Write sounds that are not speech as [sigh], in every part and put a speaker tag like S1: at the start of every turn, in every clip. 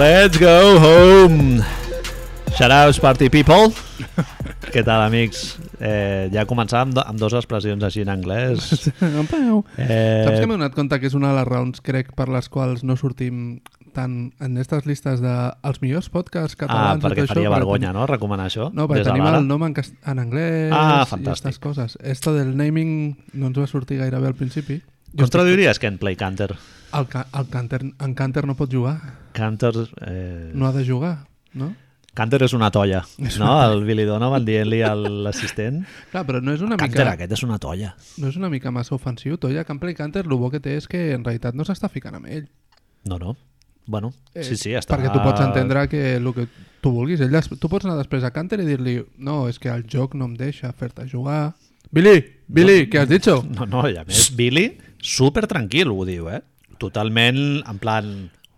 S1: Let's go home! Shoutouts party
S2: [laughs]
S1: people! Què tal, amics? Eh, ja començàvem amb, do- amb dues expressions així en anglès.
S2: En Pau.
S1: Eh,
S2: Saps que m'he donat compte que és una de les raons, crec, per les quals no sortim tant en aquestes llistes dels els millors podcasts
S1: ah,
S2: catalans... i
S1: perquè
S2: tot això,
S1: faria
S2: però
S1: vergonya, no?, recomanar això.
S2: ten- No, perquè
S1: des de
S2: tenim
S1: l'ara.
S2: el nom en, cas... en anglès
S1: Ah,
S2: i
S1: fantàstic.
S2: aquestes coses. Esto del naming no ens va sortir gaire bé al principi.
S1: Com traduiries Can Play Canter?
S2: El, ca... el Canter... En Canter no pot jugar,
S1: Canter... Eh...
S2: no ha de jugar, no?
S1: Canter és una
S2: [laughs]
S1: tolla, no? El Billy Donovan dient-li a l'assistent.
S2: Clar, però no és una
S1: Canter,
S2: mica,
S1: aquest és una tolla.
S2: no és una mica massa ofensiu. Toya Campbell i Canter, el bo que té és que en realitat no s'està ficant amb ell.
S1: No, no. Bueno,
S2: Eh,
S1: sí, sí, està...
S2: Perquè tu pots entendre que el que tu vulguis. Ell, des- tu pots anar després a Canter i dir-li no, és que el joc no em deixa fer-te jugar. Billy, Billy, què has dit?
S1: Oh, No, no, i a més, Billy, super tranquil, ho diu, eh? Totalment, en plan,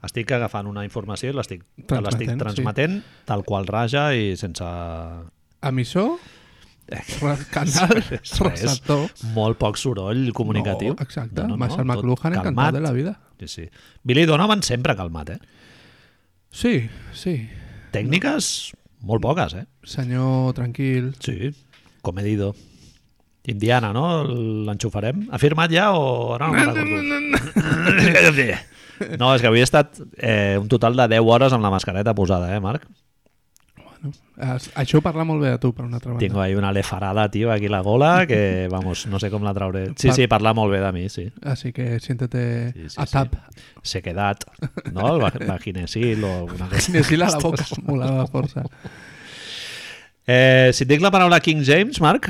S1: estic agafant una informació i l'estic te l'estic
S2: Transmetent,
S1: transmetent sí. tal qual raja i sense...
S2: Emissor, re- canal,
S1: res.
S2: receptor.
S1: Molt poc soroll comunicatiu.
S2: No, exacte, no, no, Marshall McLuhan
S1: tot
S2: encantat de la vida.
S1: Sí, sí. Billy Donovan sempre calmat, eh?
S2: Sí, sí.
S1: Tècniques molt poques, eh?
S2: Senyor, tranquil.
S1: Sí, comedido. oh. Indiana, no? L'enxufarem? Ha firmat ja o... Ara no, me'n recordo. no, és que havia estat eh, un total de 10 hores amb la mascareta posada, eh, Marc?
S2: Bueno, es- això parla molt bé de tu, per una altra banda.
S1: Tinc ahí una lefarada, tio, aquí a la gola, que, vamos, no sé com la trauré. Sí, sí, parla molt bé de mi, sí.
S2: Així que siéntete
S1: Sí, sí,
S2: a tap.
S1: Sequedat, no? El va- vaginesil o una cosa. [laughs]
S2: Sinesila a la boca, molava força.
S1: Eh, si et dic la paraula King James, Marc,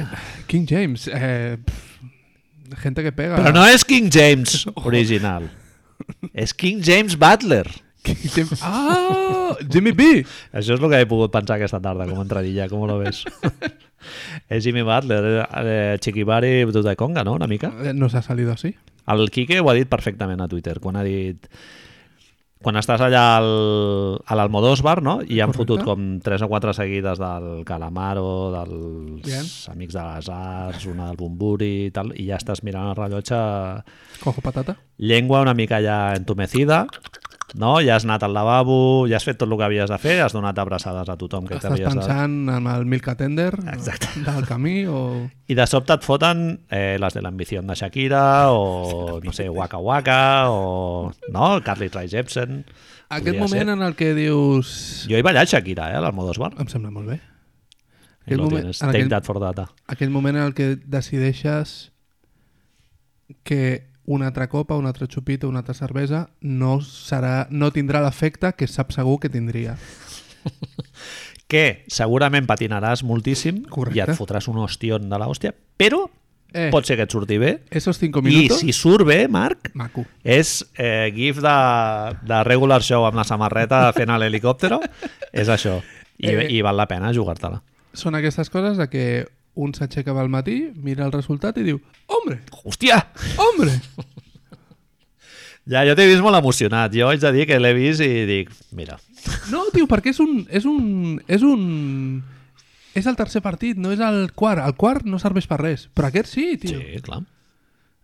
S2: King James, eh, pff, gente que pega.
S1: però no és King James original. És King James Butler.
S2: King James- Ah, Jimmy B.
S1: Això és el que he pogut pensar aquesta tarda, com a entradilla, com lo
S2: [laughs]
S1: ves? és Jimmy Butler, eh, Chiquibari de Conga, no?, una mica.
S2: Eh, Nos ha salido así.
S1: El Quique ho ha dit perfectament a Twitter, quan ha dit... Quan estàs allà al, a l'Almodós Bar, no?, i han
S2: Correcte.
S1: fotut com tres o quatre seguides del Calamaro, dels
S2: Bien.
S1: Amics de les Arts, una del Bumburi i tal, i ja estàs mirant el rellotge,
S2: Cojo patata.
S1: llengua una mica ja entumecida, no? Ja has anat al lavabo, ja has fet tot el que havies de fer, has donat abraçades a tothom que
S2: Estàs
S1: t'havies de...
S2: pensant en el Milk Attender
S1: Exacte.
S2: del camí
S1: [laughs]
S2: o...
S1: I de sobte et foten eh, les de l'ambició de Shakira o, no sé, Waka Waka o, no, Carly Rae Jepsen.
S2: Aquest
S1: Podria
S2: moment
S1: ser.
S2: en el que dius...
S1: Jo he ballat Shakira, eh, a l'Almodós Bar.
S2: Em sembla molt bé.
S1: I
S2: Aquell
S1: no
S2: moment-
S1: tienes,
S2: en
S1: take
S2: aquell-
S1: that for data.
S2: Aquell moment en el que decideixes que una altra copa, una altra xupita, una altra cervesa no, serà, no tindrà l'efecte que saps segur que tindria.
S1: Que segurament patinaràs moltíssim
S2: Correcte.
S1: i et fotràs un hostion de l'hòstia, però
S2: Eh,
S1: pot ser que et surti bé.
S2: Esos 5
S1: I
S2: minutos...
S1: si surt bé, Marc,
S2: Maco.
S1: és eh, gif de, de regular show amb la samarreta fent a l'helicòptero. és això. I,
S2: Eh.
S1: I val la pena jugar-te-la.
S2: Són aquestes coses de que un s'aixeca al matí, mira el resultat i diu Hombre,
S1: Hòstia!
S2: hombre!
S1: Ja, jo t'he vist molt emocionat. Jo haig de dir que l'he vist i dic, mira,
S2: No, tio, perquè és un... És un... És un... És el tercer partit, no és el quart. El quart no serveix per res, però aquest sí, tio. Sí.
S1: sí, clar.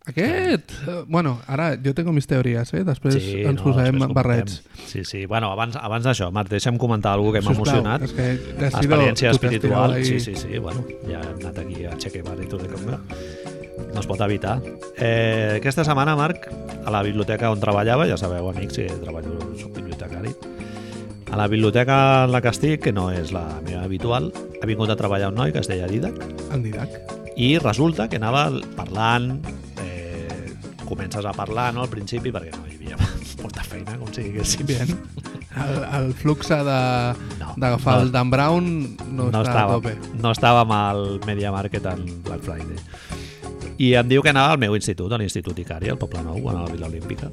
S2: Aquest... eh, Bueno, ara jo tengo mis teories, eh? Després
S1: Sí,
S2: ens posarem
S1: després
S2: barrets.
S1: comentem. Sí, sí. Bueno, abans, abans d'això, Marc, deixa'm comentar alguna que m'ha
S2: Sisplau,
S1: emocionat.
S2: és que t'has sido-
S1: Experiència
S2: tu t'has
S1: espiritual.
S2: tirado
S1: Sí,
S2: ahí.
S1: sí, sí. Bueno, ja hem anat aquí a Cheque Barrito de Conga. No es pot evitar. Eh, aquesta setmana, Marc, a la biblioteca on treballava, ja sabeu, amics, que treballo, soc bibliotecari, a la biblioteca en la que estic, que no és la meva habitual, ha vingut a treballar un noi que es deia Didac,
S2: En Didac.
S1: i resulta que anava parlant eh, comences a parlar no, al principi perquè no hi havia [laughs] molta feina com si diguéssim
S2: Bien. El, el flux de...
S1: No,
S2: d'agafar
S1: no.
S2: el Dan Brown no, està a
S1: estava,
S2: tope.
S1: no estava al Media Market en Black Friday i em diu que anava al meu institut, a l'Institut Icari, al Poble Nou, a la Vila Olímpica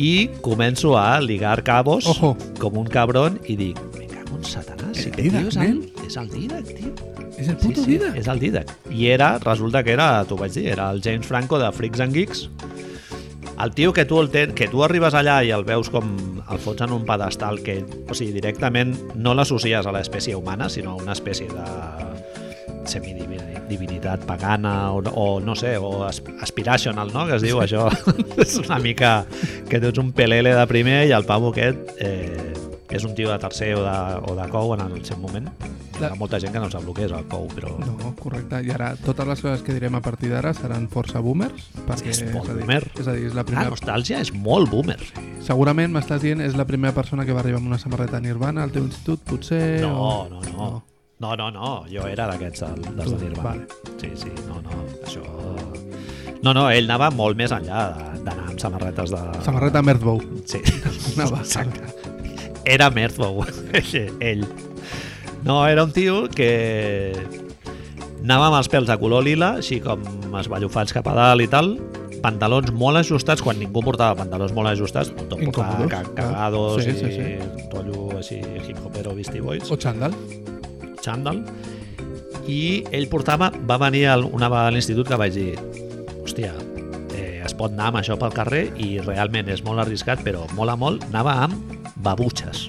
S1: i començo a ligar cabos
S2: Ojo.
S1: com un cabron i dic, me cago en satanàs, si aquest tio
S2: Didac,
S1: és el, és el Didac, tio.
S2: És el puto Didac.
S1: És el Didac. I era, resulta que era, t'ho vaig dir, era el James Franco de Freaks and Geeks. El tio que tu, el ten, que tu arribes allà i el veus com el fots en un pedestal que, o sigui, directament no l'associes a l'espècie humana, sinó a una espècie de semidivina, divinitat pagana o, o no sé, o as- aspirational, no?, que es diu això. [laughs] és una mica que tens un pelele de primer i el pavo aquest eh, és un tio de tercer o de, o de cou en el seu moment. Hi ha
S2: La-
S1: molta gent que no sap el que és el cou, però... No.
S2: No, correcte. I ara totes les coses que direm a partir d'ara seran força boomers. Perquè,
S1: És molt
S2: a dir,
S1: boomer.
S2: és a dir, és la
S1: La
S2: primera...
S1: nostàlgia és molt boomer.
S2: Segurament m'estàs dient és la primera persona que va arribar amb una samarreta Nirvana al teu institut, potser...
S1: No,
S2: o...
S1: Eh, no, no. No, no, no, jo era d'aquests del- dels
S2: Tu,
S1: de Nirvana.
S2: vale.
S1: Sí, sí, no, no, això... No, no, ell anava molt més enllà de- d'anar amb samarretes de...
S2: Samarreta Merdbow.
S1: Sí. [laughs]
S2: Anava.
S1: Exacte. Era [laughs] Merthbow, ell. No, era un tio que anava amb els pèls de color lila, així com esballofats cap a dalt i tal, pantalons molt ajustats, quan ningú portava pantalons molt ajustats, tothom portava
S2: Incòmodos,
S1: ca-
S2: clar.
S1: cagados
S2: Sí, sí,
S1: i rotllo així hip-hopero, Beastie Boys
S2: O xandall.
S1: xandall i ell portava, va venir al- una vegada a l'institut que vaig dir hòstia, eh, es pot anar amb això pel carrer i realment és molt arriscat però mola molt, anava amb babutxes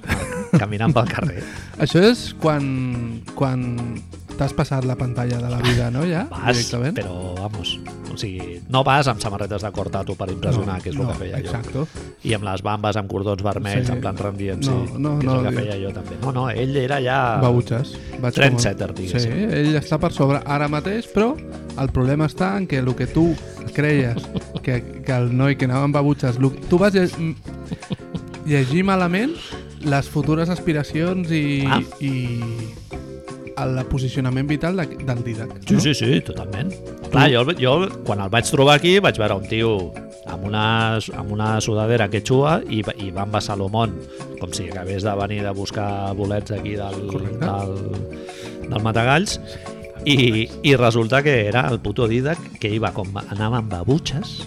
S1: caminant pel
S2: [laughs]
S1: carrer
S2: Això és quan, quan t'has passat la pantalla de la vida, no, ja?
S1: vas, però vamos o sigui, no vas amb samarretes de cortato per impressionar, que és el
S2: no,
S1: que feia jo
S2: exacto. jo.
S1: i amb les bambes amb cordons vermells
S2: Sí.
S1: en plan Randy MC,
S2: No, no,
S1: que és el
S2: no,
S1: que feia jo també no, no, ell era ja
S2: Va butxes. Vaig
S1: Ah, Trendsetter,
S2: Sí,
S1: diguéssim.
S2: ell està per sobre ara mateix, però el problema està en que el que tu creies que, que el noi que anava amb babutxes... lo- Tu vas lle- m- llegir malament les futures aspiracions i,
S1: Ah.
S2: i el posicionament vital de, del Didac.
S1: Sí,
S2: no?
S1: sí, sí, totalment. Clar, jo, jo quan el vaig trobar aquí vaig veure un tio amb una, amb una sudadera quechua i, va- i van a Salomón, com si acabés de venir de buscar bolets aquí del,
S2: Correcte.
S1: del, del Matagalls i, i resulta que era el puto Didac que iba com, anava amb babutxes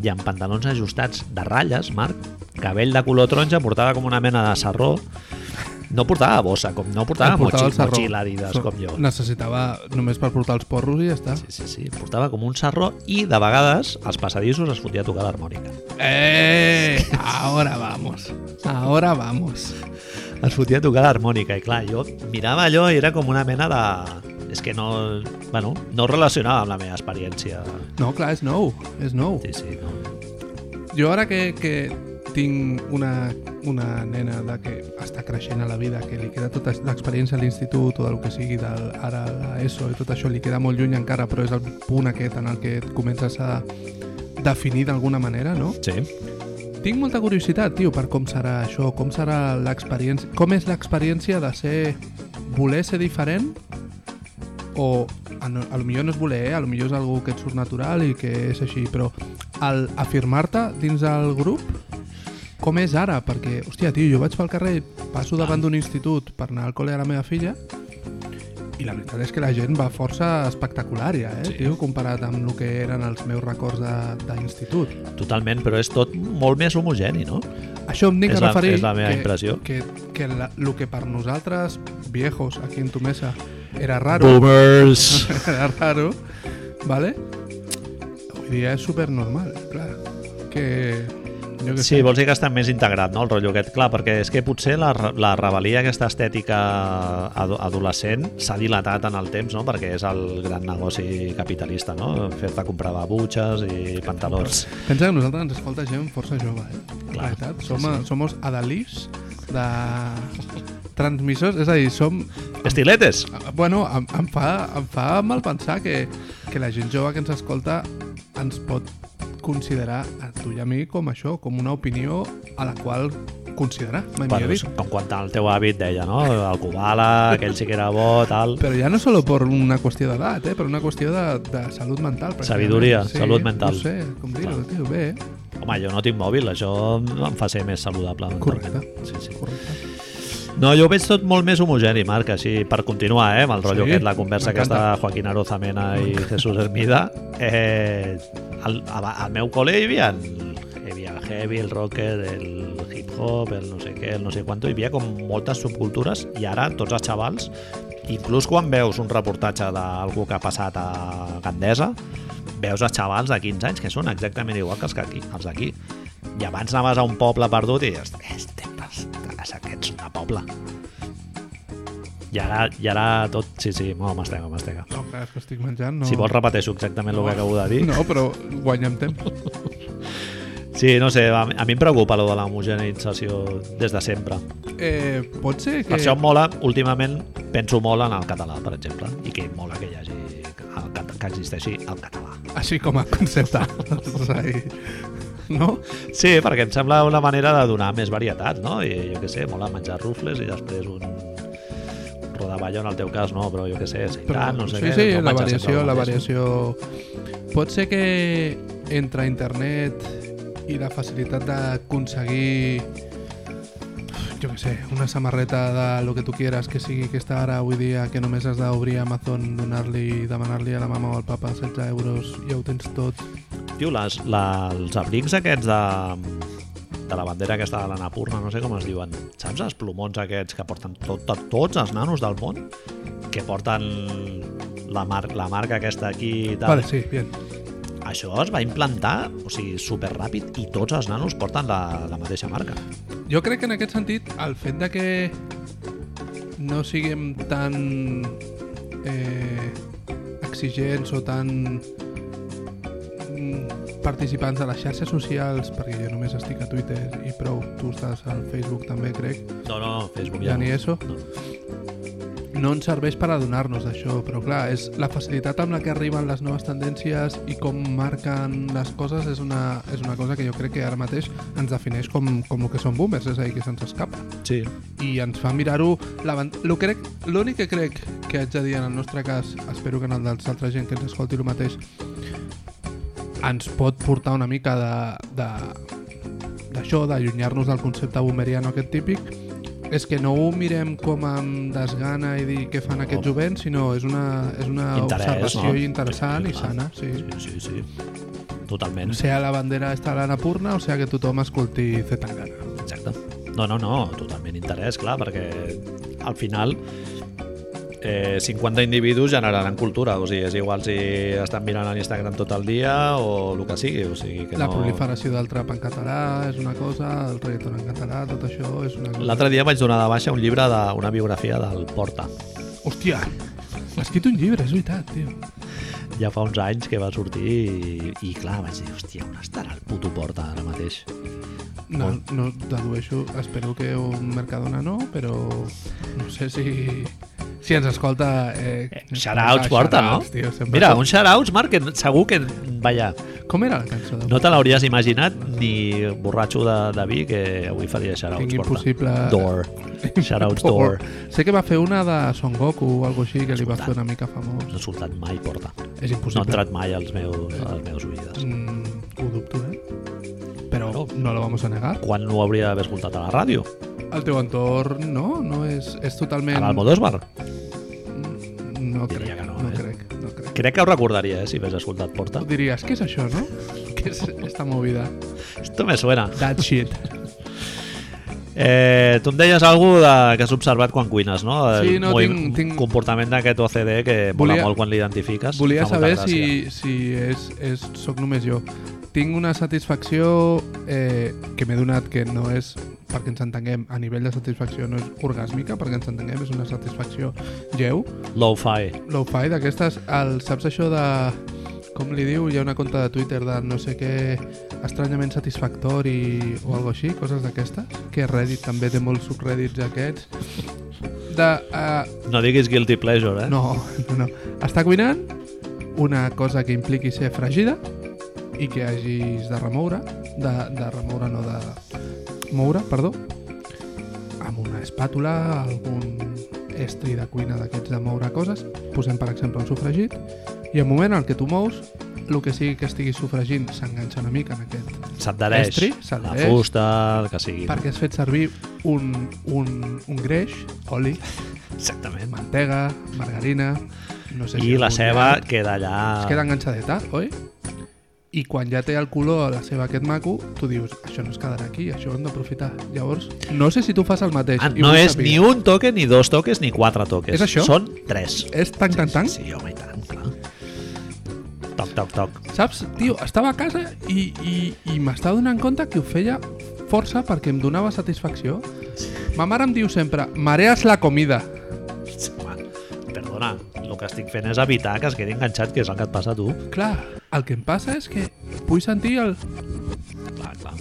S1: i amb pantalons ajustats de ratlles, Marc, cabell de color taronja, portava com una mena de sarró, no portava bossa, com no portava,
S2: Portava el
S1: mochi-
S2: sarró.
S1: motxilla Adidas,
S2: So-
S1: com jo.
S2: Necessitava només per portar els porros i ja està.
S1: Sí, sí, sí. Portava com un sarró i, de vegades, als passadissos es fotia a tocar l'harmònica.
S2: Eh, ahora vamos. Ahora vamos.
S1: Es fotia a tocar l'harmònica i, clar, jo mirava allò i era com una mena de... És que no... Bueno, no ho relacionava amb la meva experiència.
S2: No, clar, és nou. És nou.
S1: Sí, sí, no.
S2: Jo ara que, que tinc una, una nena de que està creixent a la vida, que li queda tota l'experiència a l'institut o del que sigui, del, ara a l'ESO i tot això, li queda molt lluny encara, però és el punt aquest en el que et comences a definir d'alguna manera, no?
S1: Sí.
S2: Tinc molta curiositat, tio, per com serà això, com serà l'experiència... Com és l'experiència de ser... voler ser diferent o a, no, a lo millor no és voler, eh? a lo millor és algú que et surt natural i que és així, però al afirmar-te dins del grup com és ara? Perquè, hòstia, tio, jo vaig pel carrer, passo davant d'un institut per anar al col·le a la meva filla i la veritat és que la gent va força espectacular ja, eh,
S1: Sí.
S2: sí. tio, comparat amb el que eren els meus records de- d'institut.
S1: Totalment, però és tot molt més homogeni, no?
S2: Això em dic
S1: És
S2: a
S1: la-
S2: referir...
S1: és la meva impressió.
S2: Que, que la, lo que per nosaltres, viejos, aquí en tu mesa, era raro,
S1: Boomers!
S2: [laughs] era raro, ¿vale? Avui dia és supernormal, clar. Que... Jo que
S1: Sí, vols dir que està més integrat, no?, el rotllo aquest. Clar, perquè és que potser la, re- la rebel·lia, aquesta estètica ado- adolescent, s'ha dilatat en el temps, no?, perquè és el gran negoci capitalista, no?, fer-te comprar babutxes i pantalons.
S2: Pensa que a nosaltres ens escolta gent força jove, eh? Clar, la veritat, som, sí, sí. somos adalís de transmissors, és a dir, som...
S1: Estiletes!
S2: Bueno, em, em, fa, em fa mal pensar que, que la gent jove que ens escolta ens pot considerar a tu i a mi com això, com una opinió a la qual considerar, mai
S1: Bueno,
S2: millor dit.
S1: és com quan el teu avi et deia, no?, el Kubala, aquell sí que era bo, tal...
S2: Però ja no solo per una qüestió d'edat, eh? per una qüestió de, de salut mental. pràcticament.
S1: Sabidoria, salut mental.
S2: No sé, com dir-ho,
S1: Clar.
S2: tio, bé,
S1: Home, jo no tinc mòbil, això em fa ser més saludable.
S2: Correcte.
S1: mentalment. Sí, sí.
S2: correcte.
S1: No, jo ho veig tot molt més homogeni, Marc, així, per continuar, eh, amb el rotllo
S2: Sí,
S1: sí, aquest, la conversa
S2: m'encanta.
S1: aquesta de Joaquín Arozamena i Jesús Hermida. Eh, al, al, al meu col·le hi havia, el, hi havia el heavy, el rocker, el hip-hop, el no sé què, el no sé quanto, hi havia com moltes subcultures i ara tots els xavals, inclús quan veus un reportatge d'algú que ha passat a Gandesa, veus els xavals de 15 anys que són exactament igual que els que aquí, els d'aquí. I abans anaves a un poble perdut i deies, este, pas- aquest és un poble. I ara, i ara tot... Sí, sí, molt mastega, mastega.
S2: No, clar, és que estic menjant, no.
S1: Si vols repeteixo exactament el que acabo de dir.
S2: No, però guanyem temps.
S1: Sí, no sé, a, a mi em preocupa lo de l'homogenització des de sempre.
S2: Eh, pot ser que...
S1: Per això em mola, últimament, penso molt en el català, per exemple, i que em mola que hi hagi el cat- que existeixi el català.
S2: Així com a concepte. [laughs] És a dir, no?
S1: Sí, perquè em sembla una manera de donar més varietat, no? I jo què sé, mola menjar rufles i després un un rodaballo, en el teu cas no, però jo què sé, seitan, Ah, no sé
S2: sí,
S1: què.
S2: sí,
S1: no
S2: la
S1: menjar sempre
S2: variació,
S1: el
S2: la
S1: mateix.
S2: variació... Pot ser que entre internet i la facilitat d'aconseguir jo què sé, una samarreta de lo que tu quieras que sigui que està ara avui dia que només has d'obrir Amazon, donar-li demanar-li a la mama o al papa 16 euros i ja ho tens tot
S1: Tio, les, la, els abrics aquests de, de la bandera aquesta de l'Anapurna, no sé com es diuen, saps els plomons aquests que porten tot, tot, tots els nanos del món? Que porten la, mar, la marca aquesta aquí i tal.
S2: Vale, sí, bien.
S1: Això es va implantar, o sigui, superràpid i tots els nanos porten la, la mateixa marca.
S2: Jo crec que en aquest sentit, el fet de que no siguem tan eh, exigents o tan mm, participants de les xarxes socials, perquè jo només estic a Twitter i prou, tu estàs al Facebook també, crec,
S1: No, no, Facebook
S2: ja,
S1: ja.
S2: ja ni eso,
S1: No.
S2: no ens serveix per adonar-nos d'això, però clar, és la facilitat amb la que arriben les noves tendències i com marquen les coses és una, és una cosa que jo crec que ara mateix ens defineix com, com el que són boomers, és a dir, que se'ns escapa
S1: Sí,
S2: i ens fa mirar-ho l'avant- lo crec- l'únic que crec que haig de dir en el nostre cas espero que en el dels altra gent que ens escolti el mateix ens pot portar una mica de de- d'això, d'allunyar-nos del concepte boomeriano aquest típic és que no ho mirem com amb desgana i dir què fan aquests jovents, sinó és una, és una
S1: Oh. Interès,
S2: observació
S1: no?
S2: interessant
S1: Sí,
S2: i
S1: clar.
S2: sana. Sí.
S1: sí, sí, sí. Totalment.
S2: Sea la bandera està a l'Anapurna o sea que tothom escolti Zetangana.
S1: Exacte. No, no, no, totalment interès, clar, perquè al final eh, 50 individus generaran cultura, o sigui, és igual si estan mirant a Instagram tot el dia o el que sigui, o sigui que
S2: La
S1: no...
S2: proliferació del trap en català és una cosa, el reggaeton en català, tot això és una cosa...
S1: L'altre dia vaig donar de baixa un llibre d'una biografia del Porta.
S2: Hòstia! Ha escrit un llibre, és veritat, tio.
S1: Ja fa uns anys que va sortir i, i clar, vaig dir, hòstia, on estarà el puto Porta ara mateix?
S2: No, no dedueixo, espero que un Mercadona no, però no sé si... Si ens escolta... Eh,
S1: Shoutouts Porta, no?
S2: shoutouts, Tio, sempre
S1: Mira,
S2: surt.
S1: un shoutouts, Marc, que segur que va allà.
S2: Com era la cançó? De...
S1: No te l'hauries imaginat ni borratxo de, de vi que avui faria shoutouts.
S2: Tinc
S1: porta.
S2: impossible...
S1: Door.
S2: [laughs]
S1: Shoutouts Door.
S2: Sé que va fer una de Son Goku o alguna així que li va
S1: Escolta.
S2: fer una mica famós.
S1: No he soltat mai porta.
S2: És
S1: No ha
S2: impossible.
S1: entrat mai als meus, a les meves oïdes.
S2: Mm, ho dubto, eh? Però
S1: No.
S2: no lo vamos a negar.
S1: Quan no ho hauria d'haver escoltat a la ràdio?
S2: El teu entorn, no? No és, és totalment...
S1: A l'Almodósvar?
S2: No crec,
S1: Diria que no,
S2: no, no
S1: eh?
S2: crec, no crec.
S1: Crec que ho recordaria, eh, si hagués escoltat Porta.
S2: Tu diries, què és això, no? [laughs] Què és esta movida?
S1: Esto me suena.
S2: That shit.
S1: Eh, tu em deies alguna de, que has observat quan cuines, no? El
S2: Sí, no,
S1: movi-
S2: tinc- tinc-
S1: comportament d'aquest OCD que mola
S2: Volia-
S1: molt quan l'identifiques.
S2: [laughs] Volia
S1: Fa molta
S2: saber
S1: gràcia.
S2: si, si és, és, soc només jo. Tinc una satisfacció eh, que m'he donat que no és perquè ens entenguem, a nivell de satisfacció no és orgàsmica, perquè ens entenguem, és una satisfacció lleu,
S1: Low-fi.
S2: Lo-fi d'aquestes, el, saps això de... Com li diu? Hi ha una conta de Twitter de no sé què estranyament satisfactori o algo així, coses d'aquestes. Que Reddit també té molts subreddits aquests. De... Uh,
S1: No diguis guilty pleasure, eh? [laughs]
S2: no, no, no. Està cuinant una cosa que impliqui ser fregida i que hagis de remoure, de, de remoure no, de moure, perdó, amb una espàtula, algun estri de cuina d'aquests de moure coses, posem per exemple un sofregit, i al moment en què tu mous, el que sigui que estiguis sofregint s'enganxa una mica en aquest
S1: S'adhereix.
S2: Estri,
S1: La
S2: s'adhereix.
S1: fusta, el que sigui.
S2: perquè has fet servir un, un, un greix, oli,
S1: Exactament.
S2: mantega, margarina... No sé si
S1: I la
S2: algun
S1: ceba
S2: llard.
S1: queda allà...
S2: Es queda enganxadeta, oi? I quan ja té el color la seva aquest maco, tu dius, això no es quedarà aquí, això ho hem d'aprofitar. Llavors, no sé si tu fas el mateix.
S1: Ah,
S2: i
S1: no
S2: vull
S1: és
S2: saber.
S1: ni un toque, ni dos toques, ni quatre toques.
S2: És això?
S1: Són tres.
S2: És tan, tan, tan.
S1: Sí, home, i tant, clar. Toc, toc, toc.
S2: Saps, tio, estava a casa i, i, i m'estava donant compte que ho feia força perquè em donava satisfacció. Ma mare em diu sempre, marees la comida.
S1: estic fent és evitar que es quedi enganxat, que és el que et passa a tu.
S2: Clar, el que em passa és que vull sentir el...
S1: Clar, clar.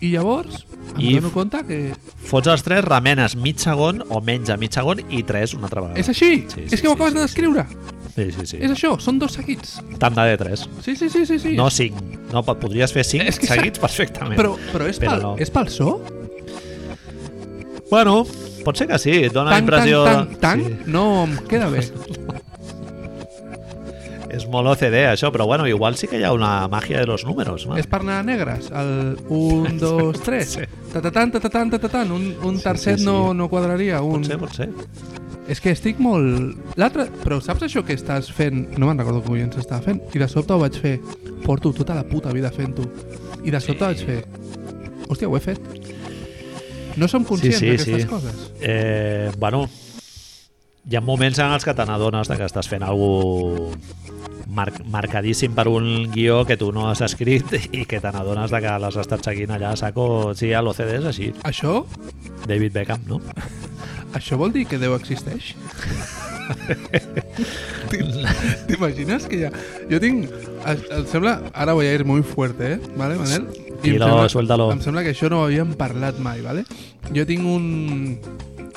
S2: I llavors em
S1: I-
S2: dono compte que...
S1: Fots els tres, remenes mig segon o menys de mig segon i tres una altra vegada.
S2: És així!
S1: Sí, sí,
S2: és que ho
S1: sí,
S2: acabes
S1: sí,
S2: de descriure!
S1: Sí, sí, sí.
S2: És això, són dos seguits.
S1: Tant de tres.
S2: Sí, sí, sí, sí. sí.
S1: No cinc. No, po- podries fer cinc
S2: És que s'ha-
S1: seguits perfectament.
S2: [laughs] però, però, és,
S1: Però
S2: pel,
S1: no.
S2: és pel so?
S1: Bueno, pot ser que sí, et dona la
S2: Tan, tan,
S1: impressió...
S2: tan, tan?
S1: Sí.
S2: No em queda
S1: [laughs]
S2: bé.
S1: És molt OCD, això, però bueno, igual sí que hi ha una màgia de los números, no?
S2: És per anar a negres, el
S1: [laughs]
S2: 1, 2, 3.
S1: Sí.
S2: Tatatan, tatatan, tatatan, un, un tercet
S1: sí, sí.
S2: no, no quadraria. Un...
S1: Pot ser, pot ser.
S2: És que estic molt... L'altre... Però saps això que estàs fent? No me'n recordo com ens estava fent. I de sobte ho vaig fer. Porto tota la puta vida fent-ho. I de sobte vaig fer... Hòstia, ho he fet. No som conscients
S1: sí,
S2: d'aquestes
S1: sí.
S2: coses.
S1: Eh, bueno, hi ha moments en els que te n'adones de que estàs fent alguna mar marcadíssim per un guió que tu no has escrit i que te n'adones de que l'has estat seguint allà a saco. Sí, a l'OCD és així.
S2: Això,
S1: David Beckham, no?
S2: això vol dir que Déu existeix?
S1: [laughs]
S2: ¿T'imagines que ja... Jo tinc... es- Em sembla... Ara voy a ir muy fuerte, eh? ¿Vale, Manel? em
S1: Tranquilo,
S2: sembla-
S1: suéltalo.
S2: Em sembla que això no ho havíem parlat mai, ¿vale? Jo tinc un...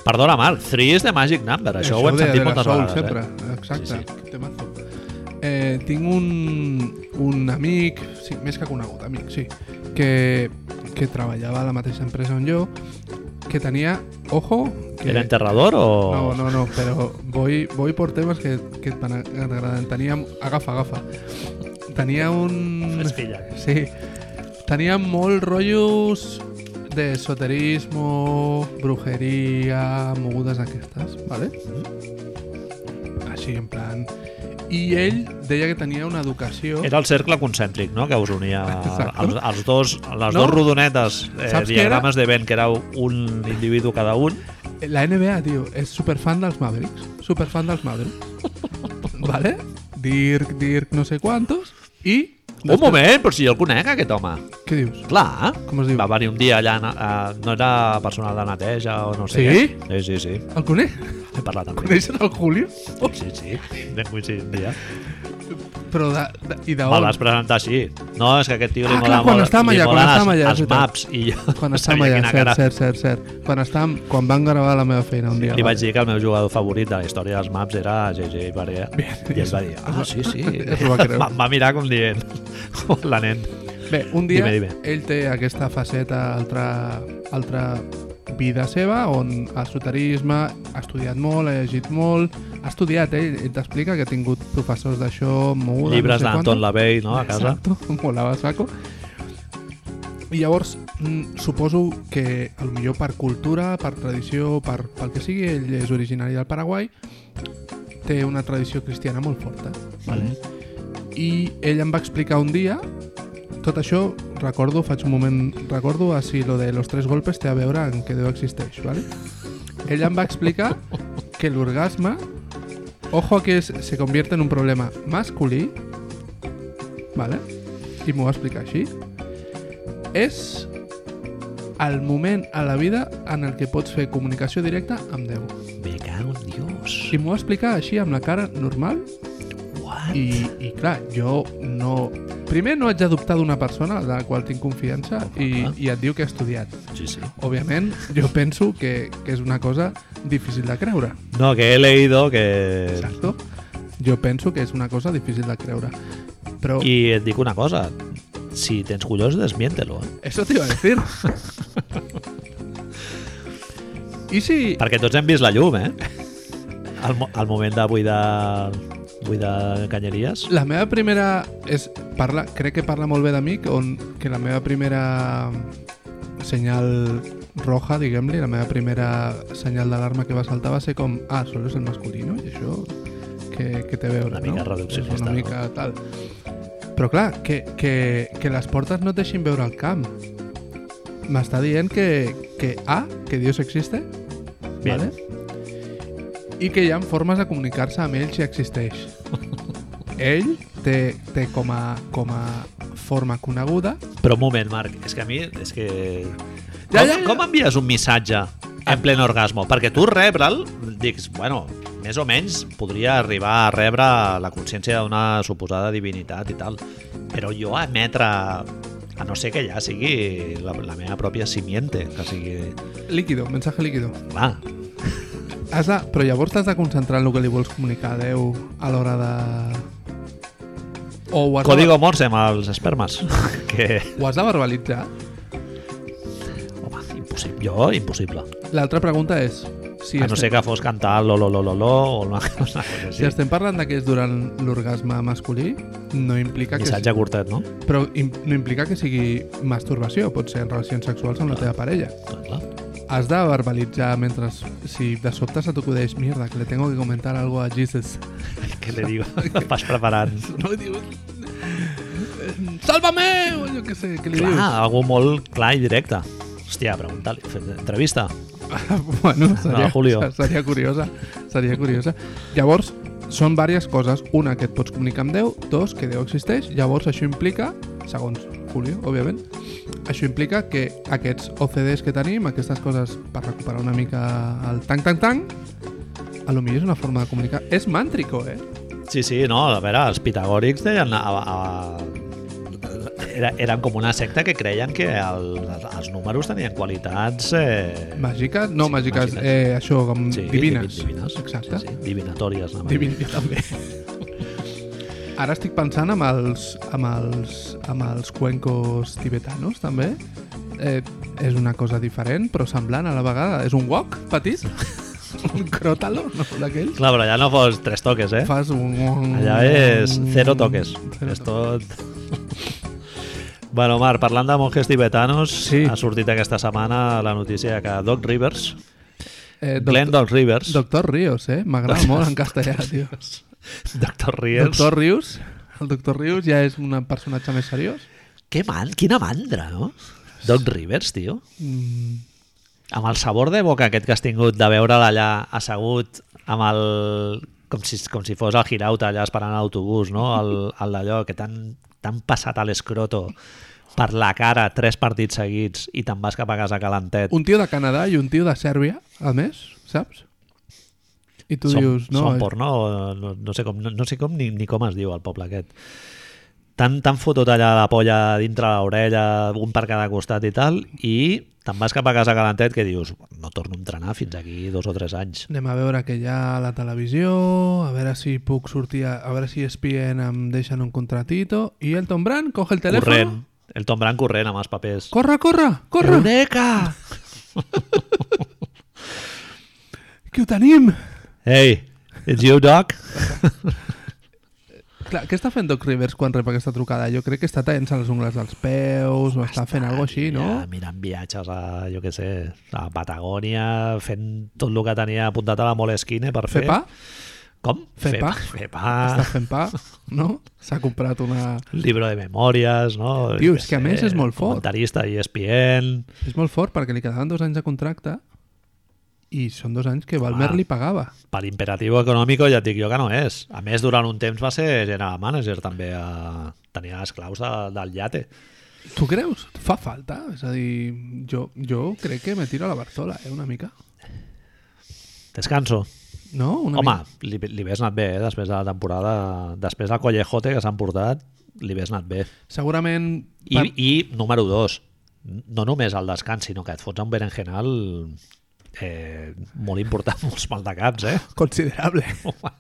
S1: Perdona, Marc, Three is the Magic Number. Això, ho hem
S2: de-
S1: sentit
S2: de la
S1: moltes
S2: Soul
S1: vegades.
S2: Sempre.
S1: Eh?
S2: Exacte,
S1: Sí,
S2: sí, temazo. Eh, tinc un, un amic, sí, més que conegut, amic, sí, que, que treballava a la mateixa empresa on jo, que tenia, ojo... Que,
S1: Era enterrador o...?
S2: no, no, no, però voy, voy por temes que, que et van a- que t'agraden. Tenia... Agafa, agafa. Tenia un...
S1: Fes filla.
S2: Sí. Tenia molt rotllos de esoterismo, brujeria, mogudes aquestes, vale? Així, en plan... I ell deia que tenia una educació...
S1: Era el cercle concèntric, no?, que us unia
S2: [laughs] Exacte.
S1: els, els dos, les
S2: No?
S1: dos rodonetes eh,
S2: Saps què
S1: diagrames de vent, que era un individu cada un.
S2: La NBA, tio, és superfan dels Mavericks. Superfan dels Mavericks.
S1: [laughs]
S2: vale? Dirk, Dirk, no sé quantos. I...
S1: Un moment, però si jo el conec, aquest home.
S2: Què dius?
S1: Clar.
S2: Com es diu?
S1: Va venir un dia allà, a, no era personal de neteja o no sé
S2: Sí?
S1: què. Sí, sí,
S2: El coneix?
S1: sí. He parlat amb ell.
S2: Coneixes el Julio?
S1: Sí, sí. Vam coincidir un dia.
S2: Però de, de, i
S1: Me
S2: d'on?
S1: l'has presentat així. No, és que aquest tio li
S2: Ah,
S1: mola
S2: clar, quan
S1: molt.
S2: estàvem
S1: li
S2: allà, quan
S1: molen els-
S2: estàvem allà, és
S1: Els
S2: veritat.
S1: maps i jo
S2: Quan
S1: no
S2: estàvem
S1: sabia
S2: allà,
S1: quina
S2: cert,
S1: cara.
S2: cert, cert, cert. Quan, estàvem, quan van gravar la meva feina un dia.
S1: Li vaig dir que el meu jugador favorit de la història dels maps era J.J. Barrier. eh? I ell va dir, ah, sí, sí.
S2: [laughs] Es ho va creure.
S1: Em va mirar com dient, [laughs] la nen.
S2: Bé, un dia
S1: Dime, dime.
S2: ell té aquesta faceta, altra, altra vida seva, on esoterisme, ha estudiat molt, ha llegit molt, ha estudiat, eh? ell t'explica que ha tingut professors d'això, moguda,
S1: Llibres
S2: no sé
S1: d'Anton
S2: quantos.
S1: Lavey, no?, a casa.
S2: Exacto, [laughs] molava saco. I llavors, mm, suposo que a lo millor per cultura, per tradició, per, pel que sigui, ell és originari del Paraguai, té una tradició cristiana molt forta.
S1: Vale.
S2: I ell em va explicar un dia, tot això, recordo, faig un moment, recordo a si lo de los tres golpes té a veure en què Déu existeix, ¿vale? Ell em va explicar que l'orgasme, ojo que es, se convierte en un problema masculí, ¿vale? I m'ho va explicar així. És el moment a la vida en el que pots fer comunicació directa amb Déu.
S1: Me cago en Dios.
S2: I m'ho va explicar així, amb la cara normal,
S1: What?
S2: i, i clar, jo no... Primer no haig de dubtar d'una persona de la qual tinc confiança i,
S1: clar.
S2: i et diu que ha estudiat.
S1: Sí, sí.
S2: Òbviament, jo penso que, que és una cosa difícil de creure.
S1: No, que he leído que...
S2: Exacto. Jo penso que és una cosa difícil de creure. Però I...
S1: I et dic una cosa, si tens collons, desmiéntelo, eh?
S2: eso te iba a decir. I si...
S1: Perquè tots hem vist la llum,
S2: [laughs]
S1: eh? Al, mo- al moment de buidar, buidar canyeries.
S2: La meva primera... És, parla, crec que parla molt bé d'amic, on que la meva primera senyal roja, diguem-li, la meva primera senyal d'alarma que va saltar va ser com ah, solo és el masculí, no? I això que, que té a veure,
S1: Una mica
S2: no?
S1: reduccionista,
S2: És una
S1: no?
S2: mica tal. Però clar, que, que, que les portes no et deixin veure el camp. M'està dient que, que A, que Dios existe,
S1: Bien.
S2: vale? i que hi ha formes de comunicar-se amb ell
S1: [laughs]
S2: si existeix. Ell té, té com, a, com a forma coneguda...
S1: Però un moment, Marc, és que a mi... És que...
S2: Ja,
S1: com,
S2: ja, ja.
S1: com envies un missatge en plen orgasmo? Perquè tu rebre'l, dics, bueno, més o menys podria arribar a rebre la consciència d'una suposada divinitat i tal, però jo emetre a no ser que ja sigui la, la meva pròpia simiente, que sigui...
S2: Líquido, mensaje líquido.
S1: Clar,
S2: Has de, però llavors t'has de concentrar en el que li vols comunicar a Déu a l'hora de... O ho has, de,
S1: código morse amb els espermes, [laughs] que...
S2: ho has de verbalitzar.
S1: Home, impossible, jo, impossible.
S2: L'altra pregunta és... Si
S1: a Ah, no ser que fos cantar lo, lo, lo, lo, lo o una, una cosa
S2: Si
S1: així.
S2: estem parlant de que és durant l'orgasme masculí, no implica que,
S1: Missatge curtet, no?
S2: però im, no implica que sigui masturbació, pot ser en relacions sexuals amb la teva parella.
S1: Clar, Doncs clar.
S2: Has de verbalitzar mentre, si de sobte se t'acudeix, mierda, que le tengo que comentar algo a Jesus. [laughs]
S1: [laughs] Què li diu? Vas preparant.
S2: No li dius... eh, Sálvame! O jo què sé, què li
S1: Clar, algú molt clar i directe. Hòstia, pregunta-li, fes entrevista.
S2: dius? bueno, seria,
S1: Ah, Julio.
S2: [laughs] seria curiosa. Seria curiosa. Llavors, són diverses coses. Una, que et pots comunicar amb Déu. Dos, que Déu existeix. Llavors, això implica, segons Julio, òbviament, això implica que aquests OCDs que tenim, aquestes coses per recuperar una mica el tanc-tanc-tanc, a lo millor és una forma de comunicar. És màntrico, eh?
S1: Sí, sí, no, a veure, els pitagòrics deien... A, a, era, eren com una secta que creien que el, els números tenien qualitats... Eh,
S2: Màgiques? No,
S1: Sí,
S2: màgiques.
S1: màgiques.
S2: Eh, això, com
S1: sí,
S2: divines.
S1: divi- divines.
S2: Exacte.
S1: Sí, sí, divinatòries. anava a dir.
S2: Divin, jo també. Ara estic pensant amb els, amb els, amb els cuencos tibetanos, també. Eh, és una cosa diferent, però semblant a la vegada. És un wok
S1: [laughs]
S2: petit? un cròtalo, no? D'aquells?
S1: Clar, però allà no fos tres toques, eh?
S2: Fas un...
S1: Allà és zero toques.
S2: Zero
S1: És tot... [laughs] Bueno, Marc, parlant de monjes tibetanos,
S2: Sí.
S1: ha sortit aquesta setmana la notícia que Doc Rivers,
S2: Eh,
S1: Doctor, Glenn
S2: doctor,
S1: Doc Rivers,
S2: doctor Ríos, eh? M'agrada molt en castellà, tio.
S1: [laughs] Doctor Rivers...
S2: Doctor Ríos? El doctor Ríos ja és un personatge més seriós?
S1: Que man, quina mandra, no? Doc Rivers, tio.
S2: Mm,
S1: Amb el sabor de boca aquest que has tingut de veure'l allà assegut amb el... Com si, com si fos el Girauta allà esperant l'autobús, no? El, el d'allò que t'han t'han passat a l'escroto per la cara tres partits seguits i te'n vas cap a casa calentet.
S2: un tio de Canadà i un tio de Sèrbia, a més, saps? I tu
S1: som,
S2: dius, no, eh,
S1: Som porno, o no, no sé com, no, no sé com ni, ni com es diu el poble aquest. Tan, tan fotut allà la polla dintre l'orella, un per cada costat i tal, i te'n vas cap a casa calentet que dius, no torno a entrenar fins aquí dos o tres anys.
S2: anem a veure que hi ha a la televisió, a veure si puc sortir, a, a veure si E ESPN em deixen un contratito, i Elton Brand coge el telèfon,
S1: Corrent, el Tom Brand corrent amb els papers.
S2: corre, corre, corre,
S1: Eureka!
S2: que ho tenim!
S1: Hey, it's you, Doc?
S2: Clar, què està fent Doc Rivers quan rep aquesta trucada? Jo crec que està tallant-se les ungles dels peus, o està fent alguna així, no?
S1: Ja, mirant viatges a, jo què sé, a Patagònia, fent tot el que tenia apuntat a la Moleskine per
S2: Fer
S1: fer.
S2: pa?
S1: Com?
S2: Fer pa?
S1: Fer pa.
S2: Està fent pa, no? S'ha comprat una...
S1: Libro de memòries, no?
S2: Tio,
S1: Jo
S2: és
S1: què
S2: que a
S1: sé,
S2: més és molt fort.
S1: Comentarista E i ESPN...
S2: És molt fort perquè li quedaven dos anys de contracte i són dos anys que
S1: Ah.
S2: Balmer li pagava.
S1: Per imperativo econòmico ja et dic jo que no és. A més, durant un temps va ser general manager també. A... Tenia les claus de, del llate.
S2: Tu creus? Fa falta? És a dir, jo, jo crec que me tiro a la Bartola, eh, una mica.
S1: Descanso.
S2: No? Una
S1: Home,
S2: mica.
S1: li, li ves anat bé, eh? després de la temporada... Després del collejote que s'han portat, li ves anat bé.
S2: Segurament...
S1: I, i número dos, no només el descans, sinó que et fots un berenjenal eh, molt important, [laughs] molts mal de caps, eh?
S2: Considerable. [laughs]
S1: Home.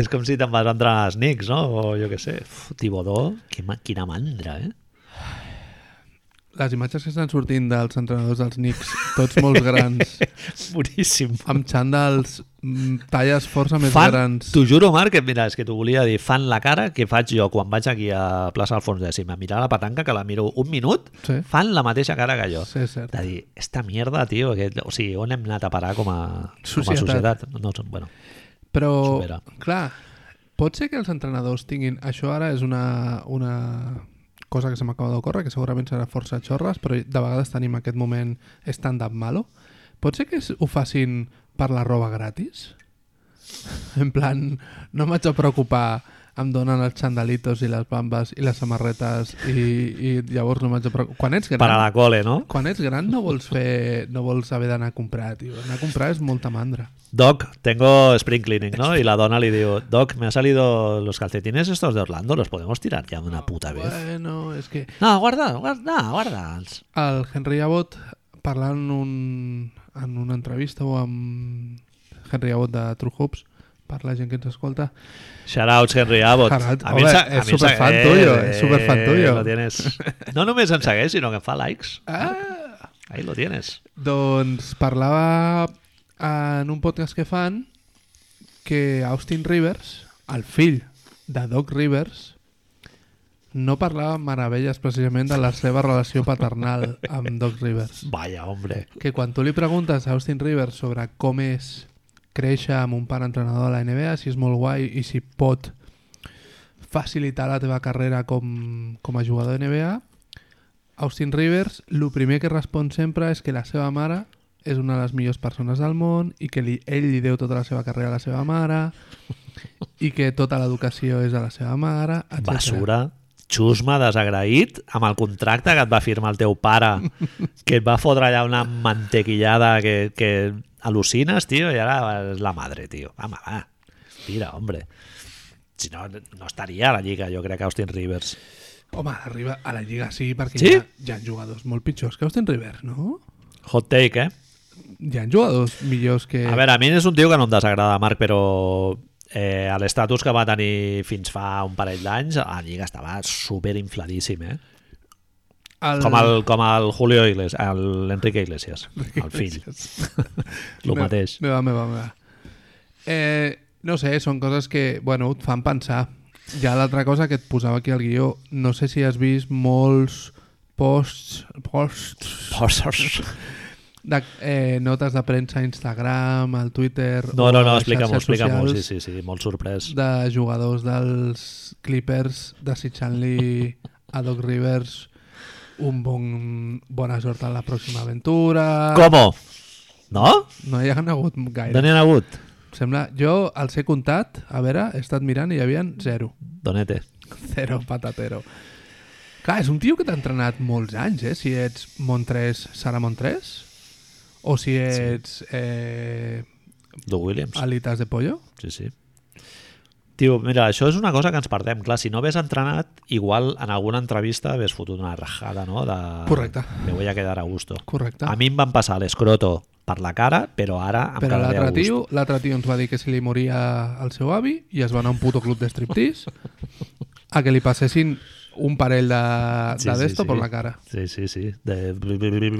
S1: És com si te'n vas entrar a les Knicks, no? O jo què sé. Uf, Tibodó, que ma quina mandra, eh? [laughs]
S2: Les imatges que estan sortint dels entrenadors dels Knicks, tots molt
S1: [laughs]
S2: grans,
S1: Boníssim.
S2: amb xandals, mm, talles força més
S1: Fan,
S2: grans...
S1: t'ho juro, Marc, que mira, és que t'ho volia dir, fan la cara que faig jo quan vaig aquí a plaça Alfons X a mirar la petanca, que la miro un minut,
S2: Sí.
S1: fan la mateixa cara que jo.
S2: Sí, és cert.
S1: De dir, esta mierda, tio, que, o sigui, on hem anat a parar com a, com a
S2: Societat.
S1: societat? No, bueno,
S2: Però,
S1: supera.
S2: clar, pot ser que els entrenadors tinguin... Això ara és una, una cosa que se m'acaba d'ocórrer, que segurament serà força xorres, però de vegades tenim aquest moment stand-up malo. Pot ser que es- ho [laughs] facin per la roba gratis? En plan, no m'haig de preocupar em donen els xandalitos i les bambes i les samarretes i, i llavors no m'haig de preocupar. Quan ets gran,
S1: Per a la cole, no?
S2: quan ets gran no vols fer, no vols haver d'anar a comprar, tio. Anar a comprar és molta mandra.
S1: Doc, tengo spring cleaning, ¿no? Y la dona le digo, Doc, me han salido los calcetines estos de Orlando, los podemos tirar ya de una puta vez.
S2: Bueno, és que
S1: No, guarda, guarda, guarda'ls.
S2: el Henry Abbott parlant en, un, en una entrevista o amb Henry Abbott de True Hopes per la gent que ens escolta
S1: Shoutouts Henry Abbott.
S2: Gerard,
S1: em
S2: home,
S1: sa-
S2: és
S1: em sa-
S2: superfan tuyo, és superfan tuyo.
S1: Lo tienes. No només em segueix, sinó que em fa likes. Ahí lo tienes.
S2: ah, Doncs parlava en un podcast que fan que Austin Rivers, el fill de Doc Rivers, no parlava meravelles precisament de la seva relació paternal amb Doc Rivers.
S1: Vaya, hombre.
S2: Que quan tu li preguntes a Austin Rivers sobre com és créixer amb un pare entrenador de la NBA, si és molt guai i si pot facilitar la teva carrera com, com a jugador de NBA, Austin Rivers, el primer que respon sempre és que la seva mare és una de les millors persones del món i que li, ell li deu tota la seva carrera a la seva mare i que tota l'educació és de la seva mare, etc.
S1: Basura. Xusma, desagraït, amb el contracte que et va firmar el teu pare, que et va fotre allà una mantequillada que, que al·lucines, tio, i ara és la madre, tio. Home, va. Mira, hombre. Si no, no estaria a la lliga, jo crec, Austin Rivers.
S2: Home, arriba a la Lliga sí, perquè
S1: Sí?
S2: hi, ha, hi ha jugadors molt pitjors que Austin Rivers, no?
S1: Hot take, eh?
S2: Hi ha jugadors millors que...
S1: A veure, a mi és un tio que no em desagrada, Marc, però eh, l'estatus que va tenir fins fa un parell d'anys, a la Lliga estava superinfladíssim, eh?
S2: el...
S1: Com el, com el Julio Iglesias, el- l'Enrique Iglesias,
S2: [laughs]
S1: el fill. [laughs] El
S2: Me-
S1: mateix.
S2: Meva, meva, meva. Eh, no sé, són coses que, bueno, et fan pensar. Hi ha l'altra cosa que et posava aquí al guió. No sé si has vist molts posts, posts
S1: Posers.
S2: de, eh, notes de premsa a Instagram, al Twitter...
S1: No,
S2: o
S1: no,
S2: a
S1: no,
S2: les
S1: explica-m'ho,
S2: xarxes
S1: explica-m'ho. Sí,
S2: socials
S1: sí, sí, molt sorprès.
S2: de jugadors dels Clippers desitjant-li a Doc Rivers un bon, bona sort a la pròxima aventura.
S1: Com? No?
S2: No hi ha hagut gaire.
S1: D'on hi ha hagut?
S2: Sembla... Jo els he comptat, a veure, he estat mirant i hi havia zero. [laughs]
S1: Donete.
S2: Zero patatero. Clar, és un tio que t'ha entrenat molts anys, eh? Si ets Montrés, Sara Montrés, o si ets eh,
S1: Du Williams.
S2: Alitas de Pollo.
S1: Sí, sí. Tio, mira, això és una cosa que ens perdem. Clar, si no hagués entrenat, igual en alguna entrevista hagués fotut una rajada, no? De...
S2: Correcte.
S1: Me voy a quedar a gusto.
S2: Correcte.
S1: A mi em van passar l'escroto per la cara, però ara em
S2: Però
S1: quedaré a
S2: l'altre
S1: gust.
S2: tio, l'altre tio ens va dir que si li moria el seu avi i es va anar a un puto club d'estriptease a que li passessin un parell de,
S1: Sí,
S2: de
S1: sí,
S2: d'esto
S1: sí.
S2: per la cara.
S1: Sí, sí, sí. De...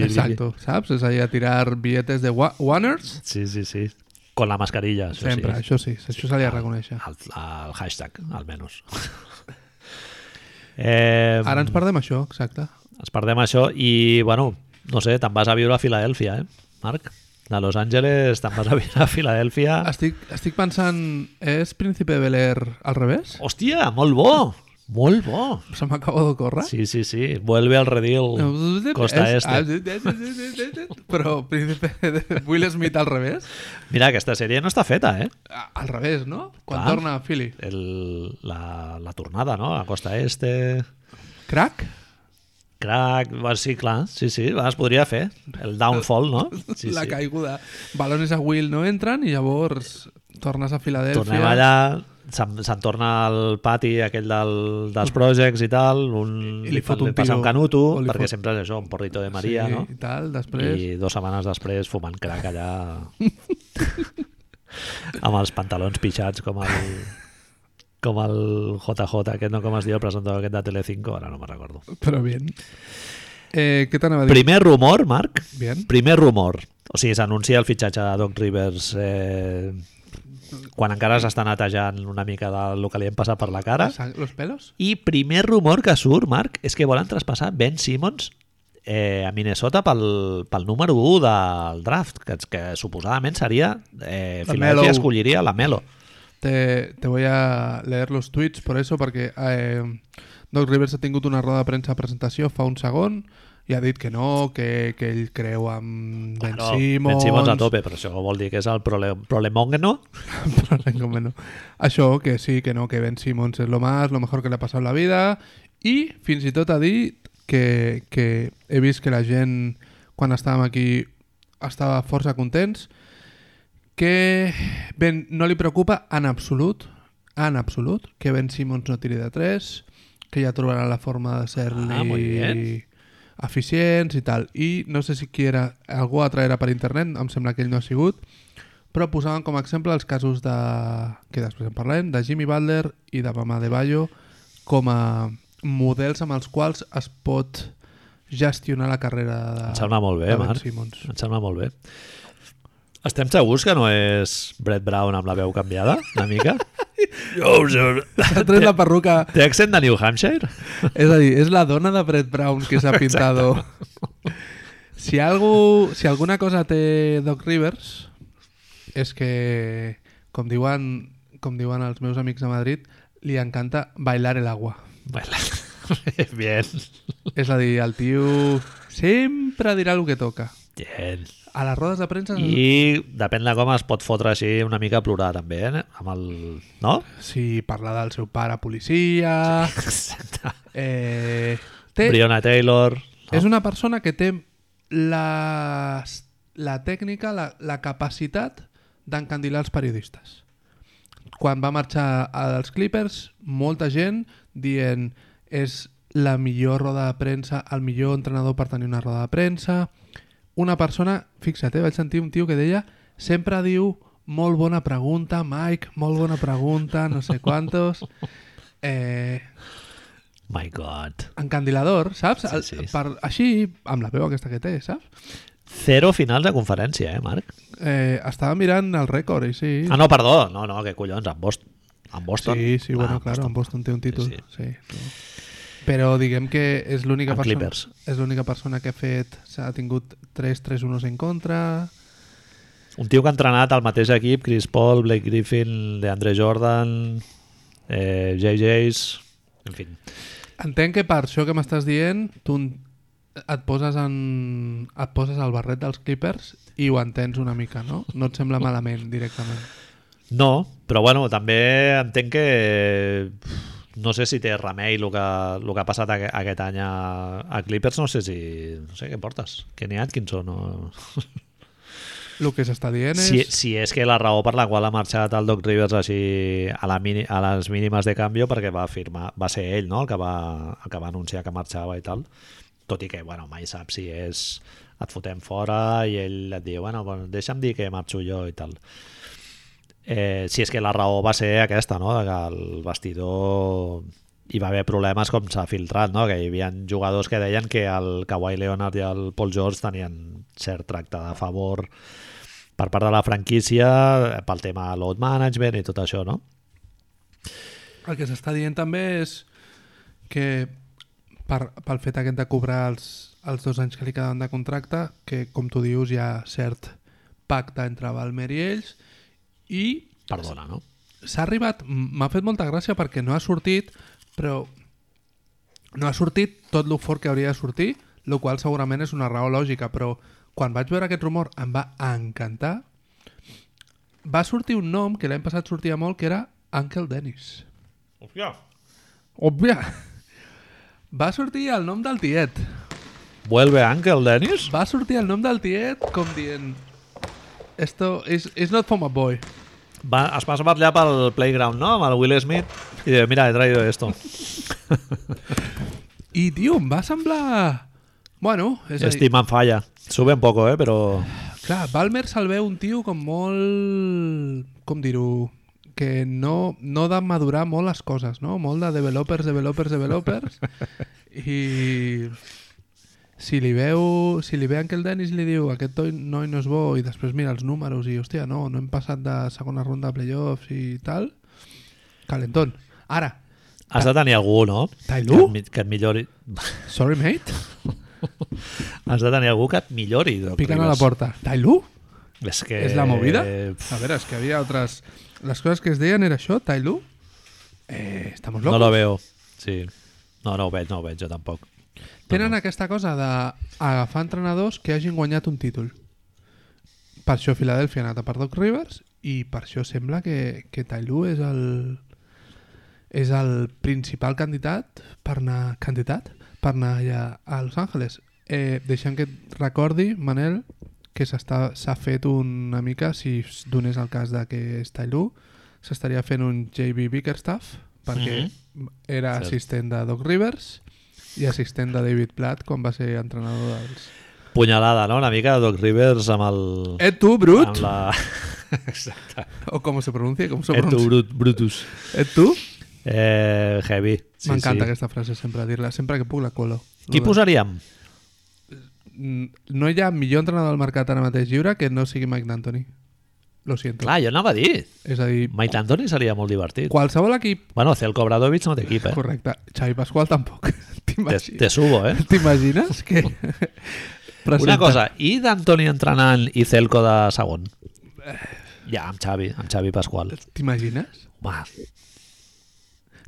S2: Exacto, saps? És a dir, a tirar billetes de wa- Wanners
S1: Sí, sí, sí. Con la mascarilla, això
S2: Sempre,
S1: sí.
S2: això sí, això se li ha de reconèixer.
S1: El, el hashtag, almenys. [laughs] eh,
S2: Ara ens perdem això, exacte.
S1: Ens perdem això i, bueno, no sé, te'n vas a viure a Filadèlfia, eh, Marc? De Los Angeles te'n vas a viure a Filadèlfia.
S2: Estic, estic pensant, és Príncipe Bel Air al revés?
S1: Hòstia, molt bo! Molt bo!
S2: Se m'acaba de córrer?
S1: Sí, sí, sí. Vuelve al redil Costa
S2: És- ah,
S1: Este.
S2: Però Príncipe de Will Smith al revés?
S1: Mira, aquesta sèrie no està feta, eh?
S2: Ah, Al revés, no? Quan
S1: Clar.
S2: torna a Philly.
S1: El, la, la tornada, no? A Costa Este...
S2: Crac?
S1: Crac, bueno, sí, clar, sí, sí, va, es podria fer. El downfall, no? Sí,
S2: la
S1: sí.
S2: caiguda. Balones a Will no entren i llavors tornes a Filadèlfia.
S1: Tornem allà, se'n se'n torna al pati aquell del, dels projects i tal, un,
S2: I- i
S1: li,
S2: li fot
S1: fa- li
S2: un
S1: passa
S2: tiro.
S1: un canuto,
S2: O li
S1: perquè
S2: fot-
S1: sempre és això, un porrito de Maria,
S2: sí,
S1: no?
S2: I tal, després...
S1: I dues setmanes després fumant crac
S2: [laughs]
S1: allà amb els pantalons pixats com el com el JJ, aquest no com es diu el presentador aquest de Telecinco, ara no me'n recordo.
S2: Però bien. Eh, què t'anava a dir?
S1: Primer rumor, Marc,
S2: Bien.
S1: Primer rumor. O sigui, s'anuncia el fitxatge de Doc Rivers eh, quan encara s'està netejant una mica del que li hem passat per la cara.
S2: Sang- Los pelos?
S1: I primer rumor que surt, Marc, és que volen traspassar Ben Simmons eh, a Minnesota pel, pel número 1 del draft, que, que suposadament seria... Eh,
S2: La
S1: Filadelfia
S2: Melo.
S1: escolliria la Melo.
S2: Te, te voy a leer los tweets por eso, perquè eh, Doc Rivers ha tingut una roda de premsa a presentació fa un segon, i ha dit que no, que, que ell creu en
S1: Ah,
S2: Ben
S1: No,
S2: Simmons...
S1: Ben Simmons a tope, però això vol dir que és el prole problemógeno.
S2: [laughs] Però res, com no. Això, que sí, que no, que Ben Simmons és lo más, lo mejor que le ha passat la vida i fins i tot ha dit que, que he vist que la gent quan estàvem aquí estava força contents que ben, no li preocupa en absolut en absolut que Ben Simmons no tiri de 3 que ja trobarà la forma de ser-li
S1: Ah, muy bien.
S2: eficients i tal i no sé si qui era algú altre era per internet em sembla que ell no ha sigut però posaven com a exemple els casos de, que després en parlem, de Jimmy Butler i de Mama de Bayo com a models amb els quals es pot gestionar la carrera de,
S1: Em sembla molt bé,
S2: de Ben
S1: Marc.
S2: Simmons.
S1: Em sembla molt bé. Estem segurs que no és Brett Brown amb la veu canviada, una mica? jo ho sé.
S2: S'ha tret la perruca,
S1: Té accent de New Hampshire?
S2: és a dir, és la dona de Brett Brown que
S1: [laughs]
S2: s'ha pintado. si, algú, si alguna cosa té Doc Rivers és que, com diuen, com diuen els meus amics de Madrid, li encanta bailar el agua.
S1: Bueno, [laughs] bien,
S2: És a dir, el tio sempre dirà el que toca.
S1: bien.
S2: A les rodes de premsa...
S1: I depèn de com es pot fotre així una mica a plorar també, eh? amb el... no?
S2: Si parla del seu pare policia...
S1: Exacte.
S2: Eh, té,
S1: Breonna Taylor. No?
S2: és una persona que té la, la tècnica, la, la capacitat d'encandilar els periodistes. Quan va marxar als Clippers, molta gent dient és la millor roda de premsa, el millor entrenador per tenir una roda de premsa... Una persona, fixa't, eh, vaig sentir un tio que deia sempre diu molt bona pregunta, Mike, molt bona pregunta, no sé quantos... Eh,
S1: My God.
S2: encandilador, saps?
S1: Sí, sí.
S2: El- Per, així, amb la veu aquesta que té, saps?
S1: Zero finals de conferència, eh, Marc?
S2: Eh, estava mirant el rècord i sí.
S1: Ah, no, perdó. No, no, que collons, en Boston. En Boston.
S2: sí, sí, bueno,
S1: Ah,
S2: claro, en Boston té un títol.
S1: Sí,
S2: Sí, sí. Però diguem que és l'única
S1: En
S2: persona,
S1: Clippers.
S2: és l'única persona que ha fet, s'ha tingut 3-3-1 en contra,
S1: Un tio que ha entrenat el mateix equip, Chris Paul, Blake Griffin, DeAndre Jordan, eh, JJ's... En fi,
S2: Entenc que per això que m'estàs dient, tu en- et poses, en, et poses al barret dels Clippers i ho entens una mica, no? No
S1: [laughs]
S2: et sembla malament, directament.
S1: No, però bueno, també entenc que no sé si té remei el que, el que ha passat aqu- aquest any a, a Clippers, no sé si... No sé què portes, Kenny Atkinson o...
S2: El que s'està dient és...
S1: Si, si és que la raó per la qual ha marxat el Doc Rivers així a, la mini, a les mínimes de canvi perquè va firmar, va ser ell no? el, que va, el que va anunciar que marxava i tal tot i que bueno, mai saps si és et fotem fora i ell et diu bueno, bueno, deixa'm dir que marxo jo i tal eh, si és que la raó va ser aquesta, no? que el vestidor hi va haver problemes com s'ha filtrat, no? que hi havia jugadors que deien que el Kawhi Leonard i el Paul George tenien cert tracte de favor per part de la franquícia eh, pel tema load management i tot això, no?
S2: El que s'està dient també és que per, pel fet aquest de cobrar els, els dos anys que li quedaven de contracte, que com tu dius hi ha cert pacte entre Balmer i ells, i
S1: Perdona, no?
S2: s'ha arribat, m'ha fet molta gràcia perquè no ha sortit, però no ha sortit tot lo fort que hauria de sortir, el qual segurament és una raó lògica, però quan vaig veure aquest rumor em va encantar, va sortir un nom que l'any passat sortia molt, que era Uncle Dennis.
S1: Hòstia.
S2: Òbvia. Va sortir el nom del tiet.
S1: Vuelve Uncle Dennis?
S2: Va sortir el nom del tiet com dient... Esto is, is not for my boy.
S1: Va, es va allà pel playground, no? Amb el Will Smith i diu, mira, he traído [laughs] esto.
S2: I, tio, em va semblar... Bueno, és a dir,
S1: Estima en falla. Sube un poco, eh? Però...
S2: clar, Balmer se'l veu un tio com molt... Com dir-ho? Que no, no de madurar molt les coses, no? Molt de developers, developers, developers. I... Si li veu, si li ve en que el Dennis i li diu aquest toi- noi no és bo i després mira els números i hòstia, no, no hem passat de segona ronda de playoffs i tal, calentón. Ara,
S1: Has de tenir algú, no?
S2: Tai
S1: Que,
S2: Lu?
S1: et mi- que et millori...
S2: sorry mate,
S1: Has de tenir algú que et millori. Doc
S2: piquen a la
S1: Rivers.
S2: porta. Tailu?
S1: És que...
S2: ¿Es la movida?
S1: Pff,
S2: A ver, es que había otras... Las cosas que es de era yo, Tailu. Eh, estamos
S1: No
S2: locos.
S1: lo veo. Sí. No, no ho veig, no ho veig jo tampoc.
S2: Tenen aquesta cosa d'agafar entrenadors que hagin guanyat un títol. Per això Filadèlfia ha anat a per Doc Rivers i per això sembla que, que Tyloo és el, és el principal candidat per anar, candidat per anar allà a Los Angeles. Eh, deixant que et recordi, Manel, que s'està- s'ha fet una mica, si es donés el cas de que és Tyloo, s'estaria fent un JB Bickerstaff, perquè era
S1: Cert.
S2: assistent de Doc Rivers i assistent de David Platt quan va ser entrenador dels...
S1: Punyalada, no? Una mica Doc Rivers amb el...
S2: Et tu,
S1: Eh,
S2: brut!
S1: Amb la... [laughs] Exacte.
S2: O com se pronuncia, com se
S1: Et tu,
S2: pronuncia.
S1: brut, Brutus.
S2: Et tu?
S1: Eh, heavy. Sí,
S2: M'encanta
S1: sí.
S2: aquesta frase sempre dir-la, sempre que puc la colo.
S1: Qui
S2: Lo de-
S1: posaríem?
S2: Mm, No hi ha millor entrenador del mercat ara mateix lliure que no sigui Mike D'Antoni. Lo siento.
S1: Clar, jo anava a dir.
S2: És a dir,
S1: Mike D'Antoni seria molt divertit.
S2: qualsevol equip...
S1: Bueno, Celko Obradovic no té equip, eh?
S2: Correcte. Xavi Pasqual tampoc. [laughs]
S1: Te,
S2: T'imagines-
S1: te subo,
S2: [laughs]
S1: eh?
S2: T'imagines que...
S1: Una
S2: presenta-
S1: cosa, i d'Antoni entrenant i Celco de segon?
S2: Eh.
S1: Ja, amb Xavi, amb Xavi Pasqual.
S2: T'imagines?
S1: Va.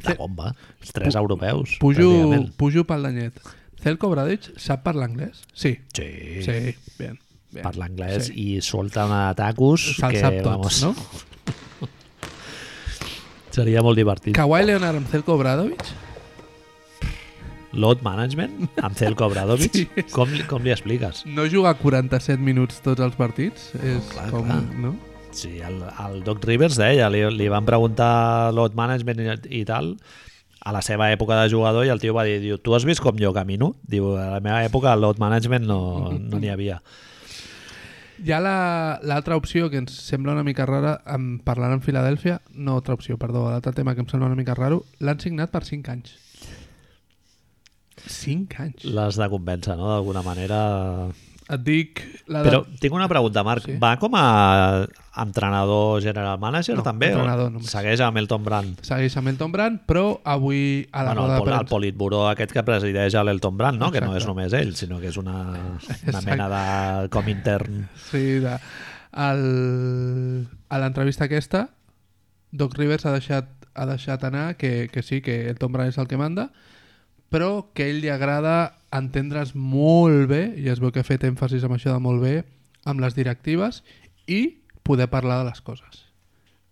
S1: La bomba. Els tres europeus.
S2: Pujo,
S1: pràcticament.
S2: pujo pel danyet. Celko Bradic sap parlar anglès? Sí.
S1: Sí. sí.
S2: Sí. Bien. bien.
S1: Parla anglès sí. i solta una atacus
S2: Se'ls
S1: que,
S2: sap
S1: vamos,
S2: tots, no?
S1: seria molt divertit.
S2: Kawhi Leonard amb Celko Bradovic?
S1: Load management amb
S2: [laughs]
S1: Celco Obradovic.
S2: Sí.
S1: Sí. Com, li- com li expliques?
S2: No jugar 47 minuts tots els partits? És
S1: clar,
S2: com...
S1: clar.
S2: No?
S1: Sí, el, el Doc Rivers deia, li, li van preguntar load management i, i tal, a la seva època de jugador i el tio va dir, diu, tu has vist com jo camino? Diu, a la meva època el load management no no n'hi havia.
S2: Hi ha la- l'altra opció que ens sembla una mica rara en parlant en Filadèlfia, no altra opció, perdó, l'altre tema que em sembla una mica raro, l'han signat per 5 anys. 5 anys.
S1: L'has de convèncer, no?, d'alguna manera.
S2: Et dic... La de-
S1: Però tinc una pregunta, Marc.
S2: Sí.
S1: Sí. Va com a entrenador general manager,
S2: No,
S1: també? o
S2: entrenador només.
S1: Segueix amb Elton Brand.
S2: Segueix amb Elton Brand, però avui a la
S1: Bueno, el,
S2: roda de
S1: pol, el
S2: premsa...
S1: politburó aquest que presideix l'Elton Brand, no? que no és
S2: Exacte.
S1: només ell, sinó que és una, una
S2: Exacte.
S1: mena de com intern.
S2: Sí, de... El... A l'entrevista aquesta, Doc Rivers ha deixat, ha deixat anar que, que sí, que el Tom Brady és el que manda, però que a ell li agrada entendre's molt bé, i es veu que ha fet èmfasis amb això de molt bé, amb les directives i poder parlar de les coses.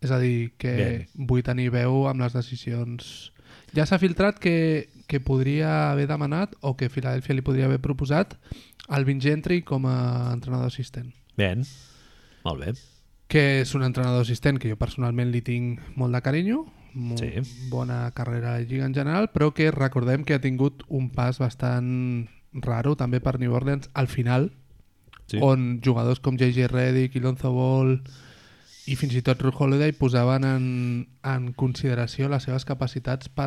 S2: És a dir, que
S1: Bien.
S2: vull tenir veu amb les decisions... Ja s'ha filtrat que, que podria haver demanat o que Filadèlfia li podria haver proposat el Vin Gentry com a entrenador assistent
S1: Bé, molt bé.
S2: que és un entrenador assistent que jo personalment li tinc molt de carinyo, molt
S1: Sí.
S2: bona carrera a la Lliga en general, però que recordem que ha tingut un pas bastant raro també per New Orleans al final,
S1: Sí.
S2: on jugadors com J.J. Redick i Lonzo Ball i fins i tot Ruth Holiday posaven en, en consideració les seves capacitats per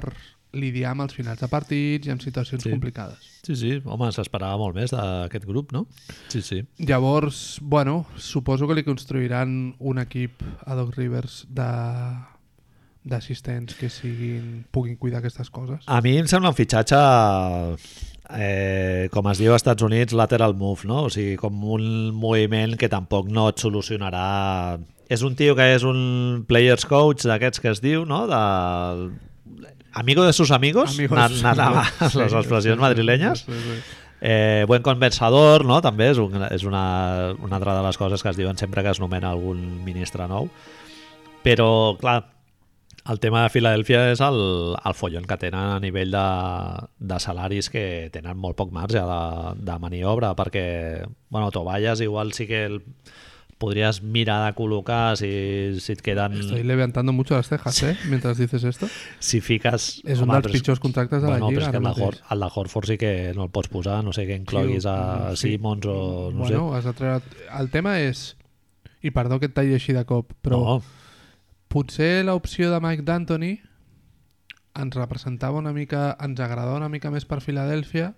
S2: lidiar amb els finals de partits i amb situacions
S1: Sí.
S2: sí. complicades.
S1: Sí, sí, home, s'esperava molt més d'aquest grup, no? Sí, sí.
S2: Llavors, bueno, suposo que li construiran un equip a Doc Rivers de d'assistents que siguin, puguin cuidar aquestes coses.
S1: A mi em sembla un fitxatge, eh, com es diu als Estats Units, lateral move, no? O sigui, com un moviment que tampoc no et solucionarà... És un tio que és un players coach d'aquests que es diu, no? De... Amigo de sus amigos,
S2: Amigo
S1: na-
S2: de sus
S1: na- na-
S2: amigos.
S1: les
S2: Sí,
S1: expressions
S2: sí,
S1: madrilenyes.
S2: sí, sí, sí.
S1: Eh, buen conversador, no? També és, un, és una, una altra de les coses que es diuen sempre que es nomena algun ministre nou. Però, clar, el tema de Filadèlfia és el, el follon que tenen a nivell de, de salaris que tenen molt poc marge de, de maniobra perquè, bueno, Tovalles igual sí que el podries mirar de col·locar si, si et queden...
S2: Estoy levantando mucho las cejas, ¿eh? Mientras dices esto.
S1: Si fiques...
S2: És un
S1: Home,
S2: dels
S1: però
S2: pitjors contractes de la
S1: bueno,
S2: Lliga.
S1: Però és que
S2: ara
S1: el de,
S2: mateix.
S1: Hor el de Horford sí que no el pots posar, no sé que incloguis a
S2: Tio, sí.
S1: Simons o no
S2: bueno, has de treure... El tema és... I perdó que et talli així de cop,
S1: sé.
S2: però
S1: no,
S2: potser l'opció de Mike D'Antoni ens representava una mica, ens agradava una mica més per Filadèlfia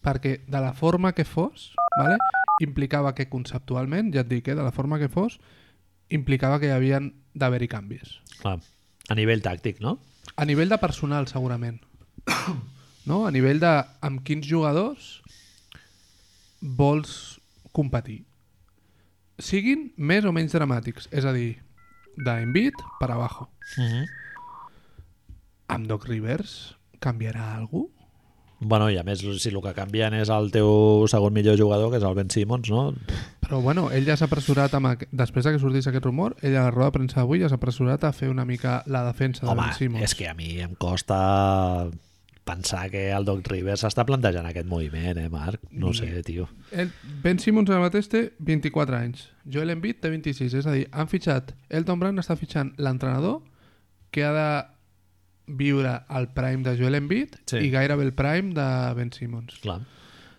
S2: perquè de la forma que fos vale, implicava que conceptualment ja et dic, eh, de la forma que fos implicava que hi havien d'haver-hi canvis
S1: clar, a nivell tàctic, no?
S2: a nivell de personal segurament [coughs] no? a nivell de amb quins jugadors vols competir siguin més o menys dramàtics és a dir, d'Envit per abajo Mhm.
S1: Uh -huh.
S2: amb Doc Rivers canviarà alguna
S1: Bueno, i a més, si el que canvien és el teu segon millor jugador, que és el Ben Simmons, no?
S2: Però bueno, ell ja s'ha pressurat amb aqu... després de que sortís aquest rumor, ell a la roda de premsa d'avui ja s'ha pressurat a fer una mica la defensa de
S1: Home,
S2: Ben Simmons.
S1: és que a mi em costa pensar que el Doc Rivers s'està plantejant aquest moviment, eh, Marc?
S2: Mm.
S1: No sé, tio.
S2: El ben Simmons ara mateix té 24 anys, Joel Embiid té 26, és a dir, han fitxat, Elton Brand està fitxant l'entrenador que ha de viure el prime de Joel Embiid
S1: Sí.
S2: i gairebé el prime de Ben Simmons.
S1: Clar.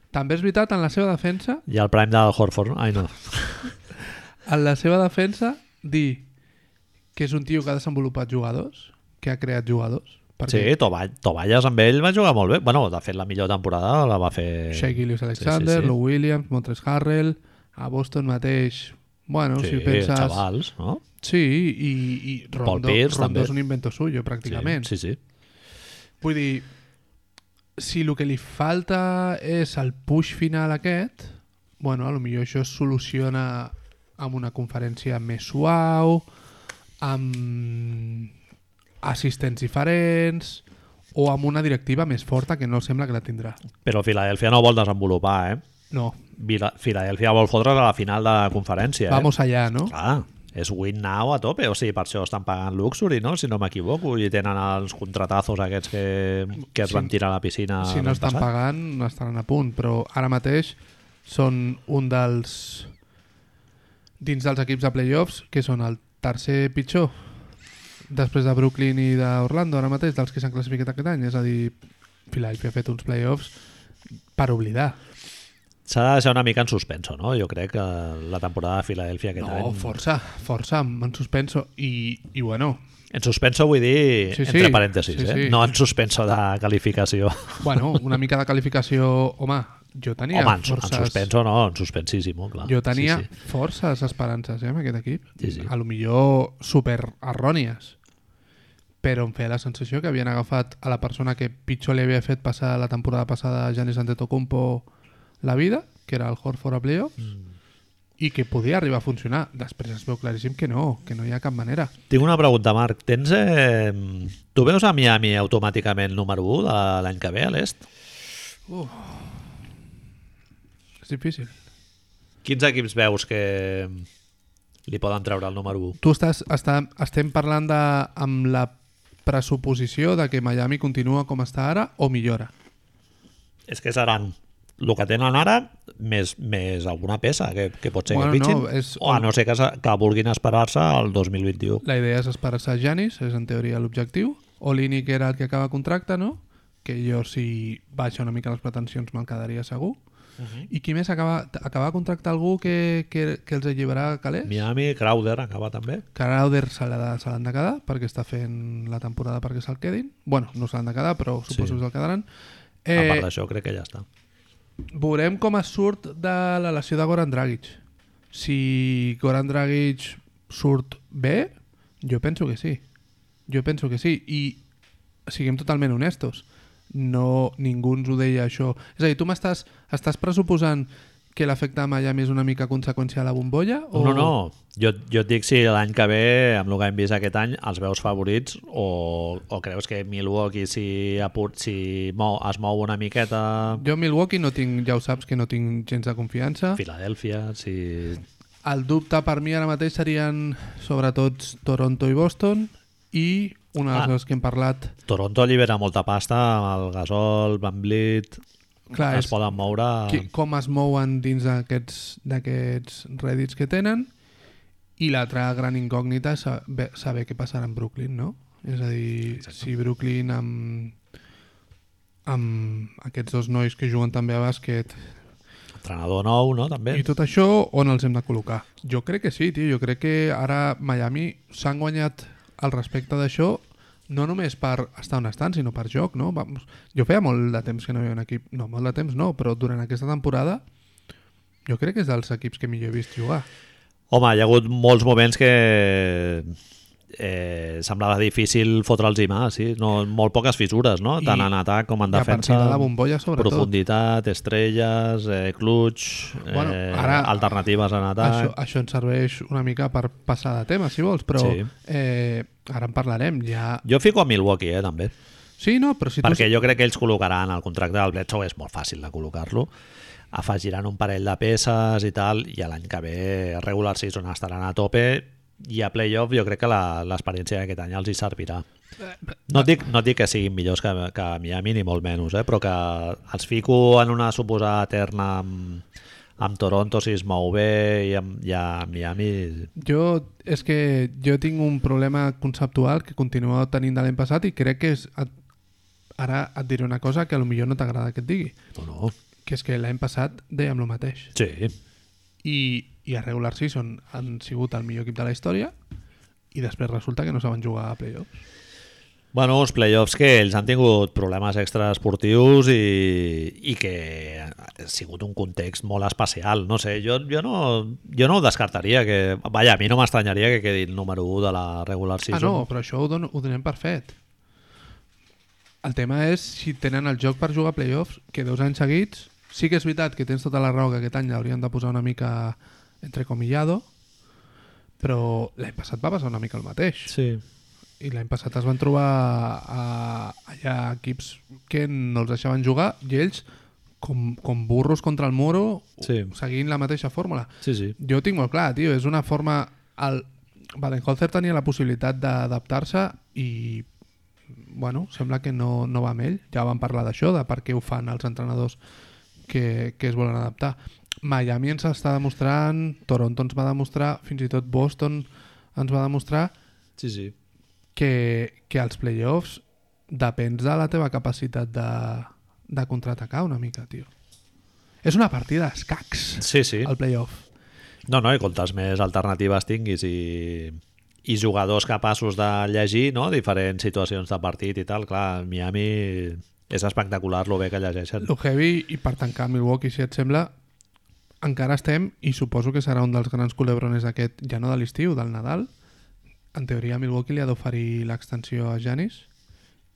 S2: També és veritat, en la seva defensa,
S1: I el prime del Horford, no? ai no.
S2: en la seva defensa, dir que és un tio que ha desenvolupat jugadors, que ha creat jugadors,
S1: Sí,
S2: perquè
S1: Toball, Toballes amb ell va jugar molt bé. Bueno, de fet, la millor temporada la va fer...
S2: Shea Gillis-Alexander,
S1: Sí, sí, sí.
S2: Lou Williams, Montres Harrell, a Boston mateix... Bueno,
S1: sí,
S2: si penses...
S1: xavals, no?
S2: Sí, i, i Rondó,
S1: Pierce,
S2: Rondó
S1: també.
S2: és un invento suyo, pràcticament.
S1: Sí, sí. sí.
S2: Vull dir, si el que li falta és el push final aquest, bueno, a lo millor això es soluciona amb una conferència més suau, amb assistents diferents o amb una directiva més forta que no sembla que la tindrà.
S1: Però Filadèlfia no vol desenvolupar, eh?
S2: No,
S1: Vila- Filadèlfia vol fotre's a la final de la conferència, eh?
S2: vamos allá, no?
S1: Clar, és win now a tope, o sigui, per això estan pagant Luxury, no? Si no m'equivoco, i tenen els contratazos aquests que, que es
S2: Si-
S1: van tirar a la piscina
S2: si no
S1: l'any
S2: estan
S1: passat.
S2: pagant, no estaran a punt, però ara mateix són un dels dins dels equips de playoffs que són el tercer pitjor després de Brooklyn i d'Orlando ara mateix, dels que s'han classificat aquest any és a dir, Philadelphia ha fet uns playoffs per oblidar
S1: S'ha de deixar una mica en suspenso, no? Jo crec que la temporada de Filadèlfia aquest
S2: no,
S1: any...
S2: força, força, en suspenso i, i bueno,
S1: En suspenso vull dir
S2: Sí, sí.
S1: entre parèntesis,
S2: Sí,
S1: eh?
S2: sí.
S1: No en suspenso de qualificació.
S2: bueno una mica de qualificació home, jo tenia
S1: Home, en, su- en
S2: forces
S1: suspenso no, en suspensísimo, clar.
S2: Jo tenia
S1: Ah, Sí,
S2: sí, sí. forces esperances eh, amb aquest equip.
S1: Sí, sí.
S2: A lo millor super errònies. Però em feia la sensació que havien agafat a la persona que pitjor li havia fet passar la temporada passada a Giannis Antetokounmpo la vida, que era el Horford a playoffs,
S1: Mm.
S2: i que podia arribar a funcionar. Després es veu claríssim que no, que no hi ha cap manera.
S1: sí. Tinc una pregunta, Marc. Tens... Eh... Tu veus a Miami automàticament número 1 de l'any que ve a l'est?
S2: És difícil.
S1: Quins equips veus que li poden treure el número 1?
S2: Tu estàs, està, estem parlant de, amb la pressuposició de que Miami continua com està ara o millora.
S1: És que seran el que tenen ara més, més alguna peça que, que pot ser
S2: Bueno,
S1: que pitxin
S2: no, és-
S1: o a no ser que, se- que vulguin esperar-se al 2021
S2: La idea és esperar-se a Janis, és en teoria l'objectiu. Olini, que era el que acaba contracte, no? Que jo, si baixa una mica les pretensions, me'l quedaria segur. Uh
S1: Uh-huh.
S2: -huh. I qui més acaba, acaba contracte algú que, que, que els alliberarà calés?
S1: Miami, Crowder acaba també
S2: Crowder se l'ha de- se l'han de quedar perquè està fent la temporada perquè se'l quedin. Bueno, no se l'han de quedar, però
S1: Sí.
S2: suposo que se'l quedaran.
S1: eh... a part
S2: Eh,
S1: d'això crec que ja està
S2: veurem com es surt de la lesió de Goran Dragic. Si Goran Dragic surt bé, jo penso que sí. Jo penso que sí. I siguem totalment honestos. No, ningú ens ho deia això. És a dir, tu m'estàs estàs pressuposant que l'efecte Miami és una mica conseqüència de la bombolla? O...
S1: No, no, no. Jo, jo et dic si l'any que ve, amb el que hem vist aquest any, els veus favorits o, o creus que Milwaukee, si, apur, si mou, es mou una miqueta,
S2: Jo a Milwaukee no tinc, ja ho saps, que no tinc gens de confiança.
S1: Filadèlfia, si...
S2: El dubte per mi ara mateix serien sobretot Toronto i Boston i una de les
S1: Ah.
S2: coses que hem parlat
S1: Toronto allibera molta pasta amb el Gasol, Van Vliet...
S2: Clar,
S1: es
S2: Ah, és-
S1: poden moure...
S2: qui, com es mouen dins d'aquests d'aquests rèdits que tenen i l'altra gran incògnita és saber, saber què passarà en Brooklyn, no? És a dir, si Brooklyn amb, amb aquests dos nois que juguen també a bàsquet
S1: Entrenador nou, no? També.
S2: i tot això, on els hem de col·locar? Jo crec que sí, tio. Jo crec que ara Miami s'han guanyat al respecte d'això no només per estar on estan, sinó per joc, no? Vamos, jo feia molt de temps que no hi havia un equip... No, molt de temps no, però durant aquesta temporada jo crec que és dels equips que millor he vist jugar.
S1: Home, hi ha hagut molts moments que eh, semblava difícil fotre'ls i mà, sí? No, molt poques fissures, no? Tant
S2: I-
S1: en atac com en
S2: I a partir
S1: defensa.
S2: de la bombolla, sobretot.
S1: Profunditat, estrelles, eh, clutch,
S2: Bueno,
S1: eh,
S2: ara-
S1: alternatives en atac...
S2: Això, això ens serveix una mica per passar de tema, si vols, però
S1: Sí.
S2: eh, ara en parlarem. Ja
S1: Jo fico a Milwaukee, eh, també.
S2: Sí, no, però si tu...
S1: Perquè jo crec que ells col·locaran el contracte del Bledsoe, és molt fàcil de col·locar-lo, afegiran un parell de peces i tal, i l'any que ve regular season estaran a tope i a playoff jo crec que la- l'experiència d'aquest any els hi servirà.
S2: eh,
S1: No et dic, no et dic que siguin millors que, que Miami, ni molt menys, eh? però que els fico en una suposada terna amb, amb Toronto si es mou bé i, amb, i a Miami...
S2: Jo, és que jo tinc un problema conceptual que continuo tenint de l'any passat i crec que és... Et, ara et diré una cosa que a lo millor no t'agrada que et digui,
S1: No, no.
S2: que és que l'any passat dèiem el mateix.
S1: Sí,
S2: I, I a regular season han sigut el millor equip de la història i després resulta que no saben jugar a playoffs.
S1: Bueno, uns playoffs que ells han tingut problemes extraesportius i, i que ha sigut un context molt especial. No sé, jo, jo, no, jo no ho descartaria. Que, vaja, a mi no m'estranyaria que quedi el número 1 de la regular
S2: ah,
S1: season.
S2: no, però això ho, dono, ho donem per fet. El tema és si tenen el joc per jugar a playoffs, que dos anys seguits... Sí que és veritat que tens tota la raó que aquest any haurien de posar una mica entrecomillado, però l'any passat va passar una mica el mateix.
S1: Sí.
S2: I l'any passat es van trobar a, allà equips que no els deixaven jugar i ells, com, com burros contra el muro,
S1: Sí.
S2: seguint la mateixa fórmula.
S1: Sí, sí.
S2: Jo ho tinc molt clar, tio, és una forma... El... Baden-Holzer tenia la possibilitat d'adaptar-se i bueno, sembla que no, no va amb ell. Ja vam parlar d'això, de per què ho fan els entrenadors que, que es volen adaptar. Miami ens està demostrant, Toronto ens va demostrar, fins i tot Boston ens va demostrar
S1: Sí, sí.
S2: que, que als playoffs depens de la teva capacitat de, de contraatacar una mica, tio. És una partida d'escacs,
S1: Sí, sí.
S2: el playoff.
S1: No, no, i quantes més alternatives tinguis i, i jugadors capaços de llegir no? diferents situacions de partit i tal, clar, Miami és espectacular lo bé que llegeixen.
S2: Lo heavy, i per tancar Milwaukee, si et sembla, encara estem, i suposo que serà un dels grans culebrones d'aquest, ja no de l'estiu, del Nadal. En teoria, Milwaukee li ha d'oferir l'extensió a Janis, i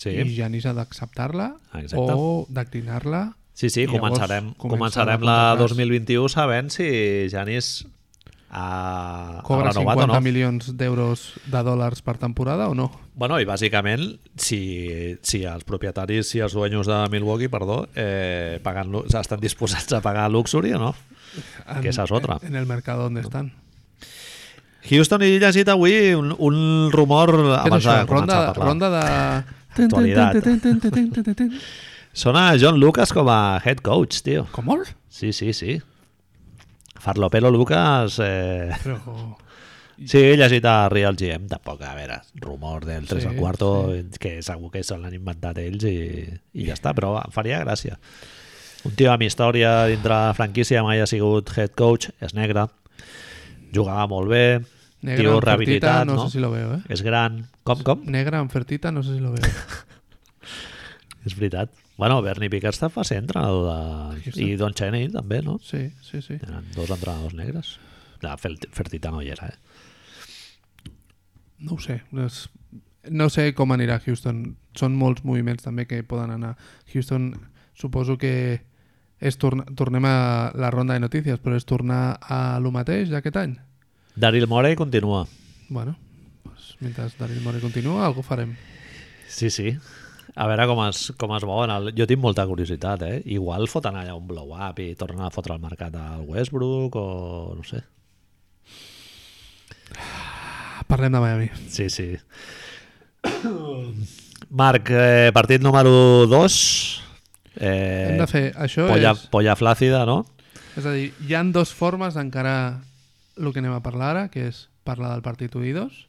S1: Sí, Ah,
S2: Janis ha d'acceptar-la
S1: Exacte.
S2: o declinar-la.
S1: sí, sí
S2: i llavors
S1: començarem,
S2: comença
S1: començarem
S2: la
S1: la
S2: contractació.
S1: 2021 sabent si Janis ha, ha
S2: Cobra
S1: renovat o
S2: 50
S1: no.
S2: milions d'euros de dòlars per temporada o no?
S1: Bueno, i bàsicament, si, si els propietaris, si els dueños de Milwaukee, perdó, eh, paguen, lu- estan disposats a pagar Luxury o no? Que esa es otra.
S2: En el mercado donde están.
S1: Houston he llegit avui un, un rumor
S2: Què
S1: abans
S2: és
S1: de
S2: això? Ronda,
S1: començar a parlar.
S2: ronda de...
S1: Actualitat.
S2: Tin, tin, tin, tin, tin, tin, tin.
S1: Sona John Lucas com a head coach, tio.
S2: [laughs] Com molt?
S1: Sí, sí, sí. Farlopelo Lucas... Eh...
S2: Però...
S1: Sí, he llegit a Real GM, tampoc, a veure, rumor del 3
S2: Sí,
S1: al cuarto, que segur que se l'han inventat ells i, i ja està, però em faria gràcia. Un tio amb història dintre la franquícia, mai ha sigut head coach, és negre, jugava molt bé,
S2: Negre
S1: tio
S2: amb fertita,
S1: rehabilitat,
S2: no,
S1: no?
S2: sé si lo veo, eh?
S1: És gran. Com, com?
S2: Negra amb fertita, no sé si lo veo.
S1: És veritat. Bueno, Bernie Pickard va ser entrenador de... I Don Cheney també, no?
S2: Sí, sí, sí.
S1: Eren dos entrenadors negres. Ah, La Fel- Fertitta no hi era, eh?
S2: No ho sé. No, és... no sé com anirà Houston. Són molts moviments també que poden anar. Houston, suposo que és torna... tornem a la ronda de notícies, però és tornar a lo mateix d'aquest any?
S1: Daryl Morey continua.
S2: Bueno, doncs, mentre Daryl Morey continua, algú farem.
S1: Sí, sí. A veure com es, com es mouen. El... Jo tinc molta curiositat, eh? Igual foten allà un blow-up i tornen a fotre al mercat al Westbrook o no sé.
S2: Ah, Parlem de Miami.
S1: Sí, sí. Marc, eh, partit número 2. Eh,
S2: Hem de fer... Això
S1: polla,
S2: és...
S1: polla flàcida, no?
S2: És a dir, hi han dues formes d'encarar el que anem a parlar ara, que és parlar del partit 1 i 2.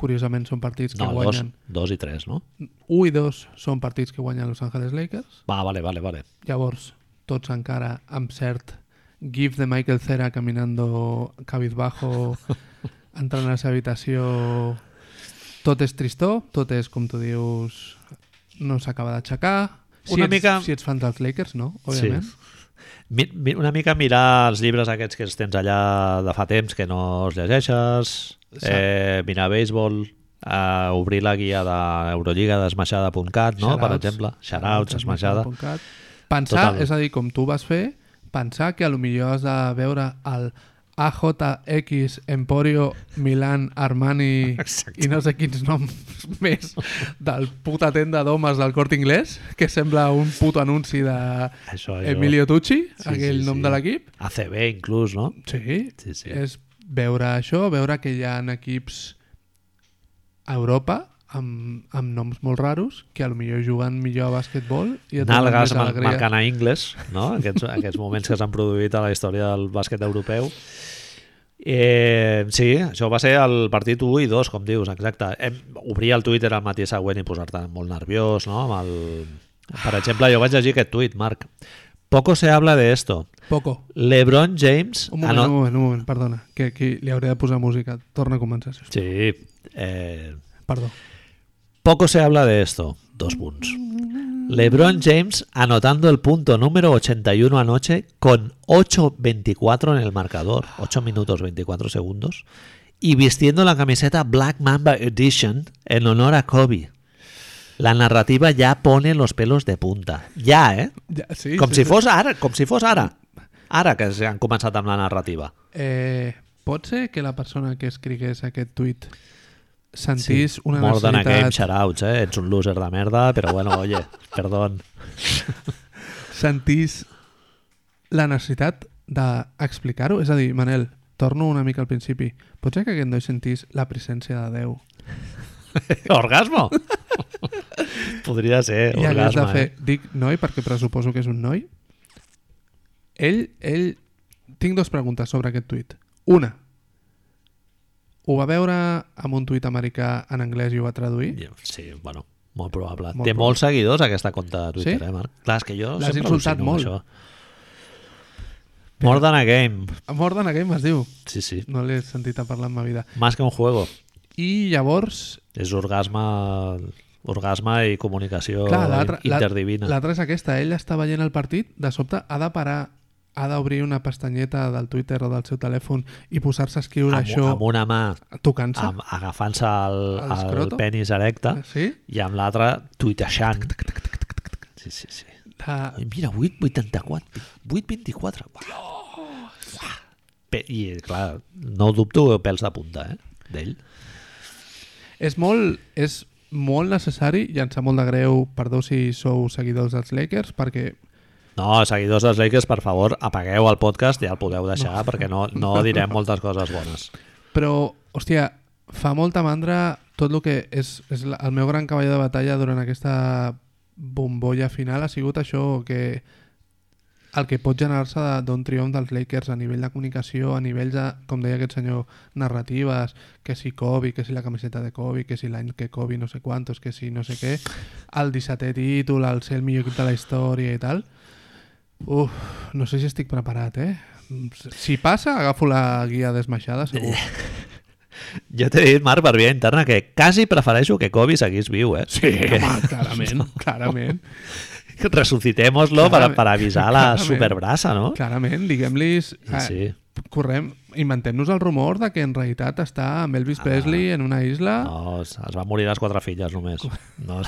S2: Curiosament són partits que
S1: No, dos,
S2: guanyen...
S1: dos i tres, no?
S2: 1 i 2 són partits que guanyen Los Angeles Lakers.
S1: Va, vale, vale, vale.
S2: Llavors, tots encara amb cert gif de Michael Cera caminando
S1: [laughs]
S2: cabizbajo, entrant a la seva habitació... Tot és tristó, tot és, com tu dius, no s'acaba d'aixecar. Si,
S1: Una
S2: ets,
S1: mica-
S2: si ets fan dels Lakers, no, òbviament.
S1: Sí. Mi, mi, una mica mirar els llibres aquests que els tens allà de fa temps que no els llegeixes, eh, mirar béisbol, eh, obrir la guia d'Eurolliga d'esmaixada.cat, no? Per
S2: Shoutouts.
S1: exemple, xarauts, esmaixada.
S2: Esmaixada.cat. Pensar,
S1: Total.
S2: és a dir, com tu vas fer, pensar que a lo millor has de veure el, AJX, Emporio, Milan, Armani
S1: [laughs] Exacte.
S2: i no sé quins noms [laughs] més del puta tenda d'homes del Cort Inglès, que sembla un puto anunci de
S1: Això, això.
S2: Emilio Tucci,
S1: Sí,
S2: aquell
S1: sí,
S2: nom
S1: sí.
S2: de l'equip.
S1: ACB, inclús, no?
S2: Sí,
S1: Sí, sí.
S2: és veure això, veure que hi ha equips a Europa amb, amb noms molt raros que a lo millor juguen millor a basquetbol i et donen
S1: Nalgas
S2: més
S1: mar
S2: alegria.
S1: marcant a Ingles, no?
S2: [laughs]
S1: aquests, aquests moments que s'han produït a la història del bàsquet europeu. Eh, sí, això va ser el partit 1 i 2, com dius, exacte. Hem, obrir el Twitter al matí següent i posar-te molt nerviós, no? Amb el... Per exemple, jo vaig llegir aquest tuit, Marc. Poco se habla de esto.
S2: Poco.
S1: LeBron James...
S2: Un moment,
S1: ano-
S2: un moment, un moment, perdona, que aquí li hauré de posar música. Torna a començar, sisplau.
S1: Sí, eh,
S2: Perdó.
S1: Poco se habla de esto. Dos puntos. LeBron James anotando el punto número 81 anoche con 8.24 en el marcador, 8 minutos 24 segundos, y vistiendo la camiseta Black Mamba Edition en honor a Kobe. La narrativa ya pone los pelos de punta. Ya, ¿eh?
S2: Ja, sí,
S1: Com
S2: sí,
S1: si
S2: sí.
S1: fos ara, com si fos ara. Ara que se han començat amb la narrativa.
S2: Eh, pot ser que la persona que escrigués aquest tuit sentís sí, una
S1: More than a game,
S2: necessitat,
S1: shoutouts, eh? Ets un loser de merda, però bueno, oye, perdón.
S2: sentís la necessitat d'explicar-ho? És a dir, Manel, torno una mica al principi. Pot ser que aquest noi sentís la presència de Déu [laughs]
S1: Orgasmo. [laughs] Podria ser
S2: I hagués de
S1: orgasme.
S2: fer...
S1: Eh?
S2: Dic noi perquè pressuposo que és un noi. Ell, ell... Tinc dues preguntes sobre aquest tuit. Una, ho va veure amb un tuit americà en anglès i ho va traduir?
S1: Sí, bueno, molt probable.
S2: Molt
S1: Molt Té
S2: probable.
S1: molts seguidors aquesta compta de Twitter,
S2: Sí?
S1: eh, Marc? Clar, és que jo
S2: L'has
S1: sempre
S2: insultat
S1: al·lucino amb
S2: molt.
S1: Això. More than a game.
S2: More than a game es diu.
S1: Sí, sí.
S2: No l'he sentit a parlar en ma vida.
S1: Más que un juego.
S2: I llavors...
S1: És orgasme orgasme i comunicació
S2: clar, l'altra- la-
S1: interdivina.
S2: l'altra és aquesta. Ell està veient el partit, de sobte ha de parar ha d'obrir una pestanyeta del Twitter o del seu telèfon i posar-se a escriure
S1: amb,
S2: això
S1: amb una mà
S2: tocant-se.
S1: amb- agafant-se el,
S2: Al
S1: el
S2: escroto?
S1: penis erecte
S2: Sí?
S1: i amb l'altra tuitejant. Sí, sí, sí.
S2: De,
S1: Ai, Mira, 8,84. 8,24. Uau. Pe- I, clar, no dubto pèls de punta, eh? D'ell.
S2: És molt, és molt necessari i em sap molt de greu, perdó si sou seguidors dels Lakers, perquè
S1: No, seguidors dels Lakers, per favor, apagueu el podcast i ja el podeu deixar, no. perquè no, no direm moltes coses [laughs] bones.
S2: però, hòstia, fa molta mandra tot el que és, és la- el meu gran cavall de batalla durant aquesta bombolla final ha sigut això que el que pot generar-se de- d'un triomf dels Lakers a nivell de comunicació, a nivell de, com deia aquest senyor, narratives, que si Kobe, que si la camiseta de Kobe, que si l'any que Kobe no sé quantos, que si no sé què, el 17è títol, el ser el millor equip de la història i tal. Uf, no sé si estic preparat, eh? Si passa, agafo la guia desmaixada, segur.
S1: Jo t'he dit, Marc, per via interna, que quasi prefereixo que Kobe seguís viu, eh?
S2: Sí, home,
S1: [laughs]
S2: clarament, clarament,
S1: Resucitémoslo per,
S2: Clarament.
S1: per avisar la
S2: Clarament.
S1: superbrassa, no?
S2: clarament, diguem-li... eh,
S1: Sí, Ah, sí.
S2: Correm, inventem-nos el rumor de que en realitat està amb Elvis Presley en una isla
S1: Ah. No, es es van morir les quatre filles només. No.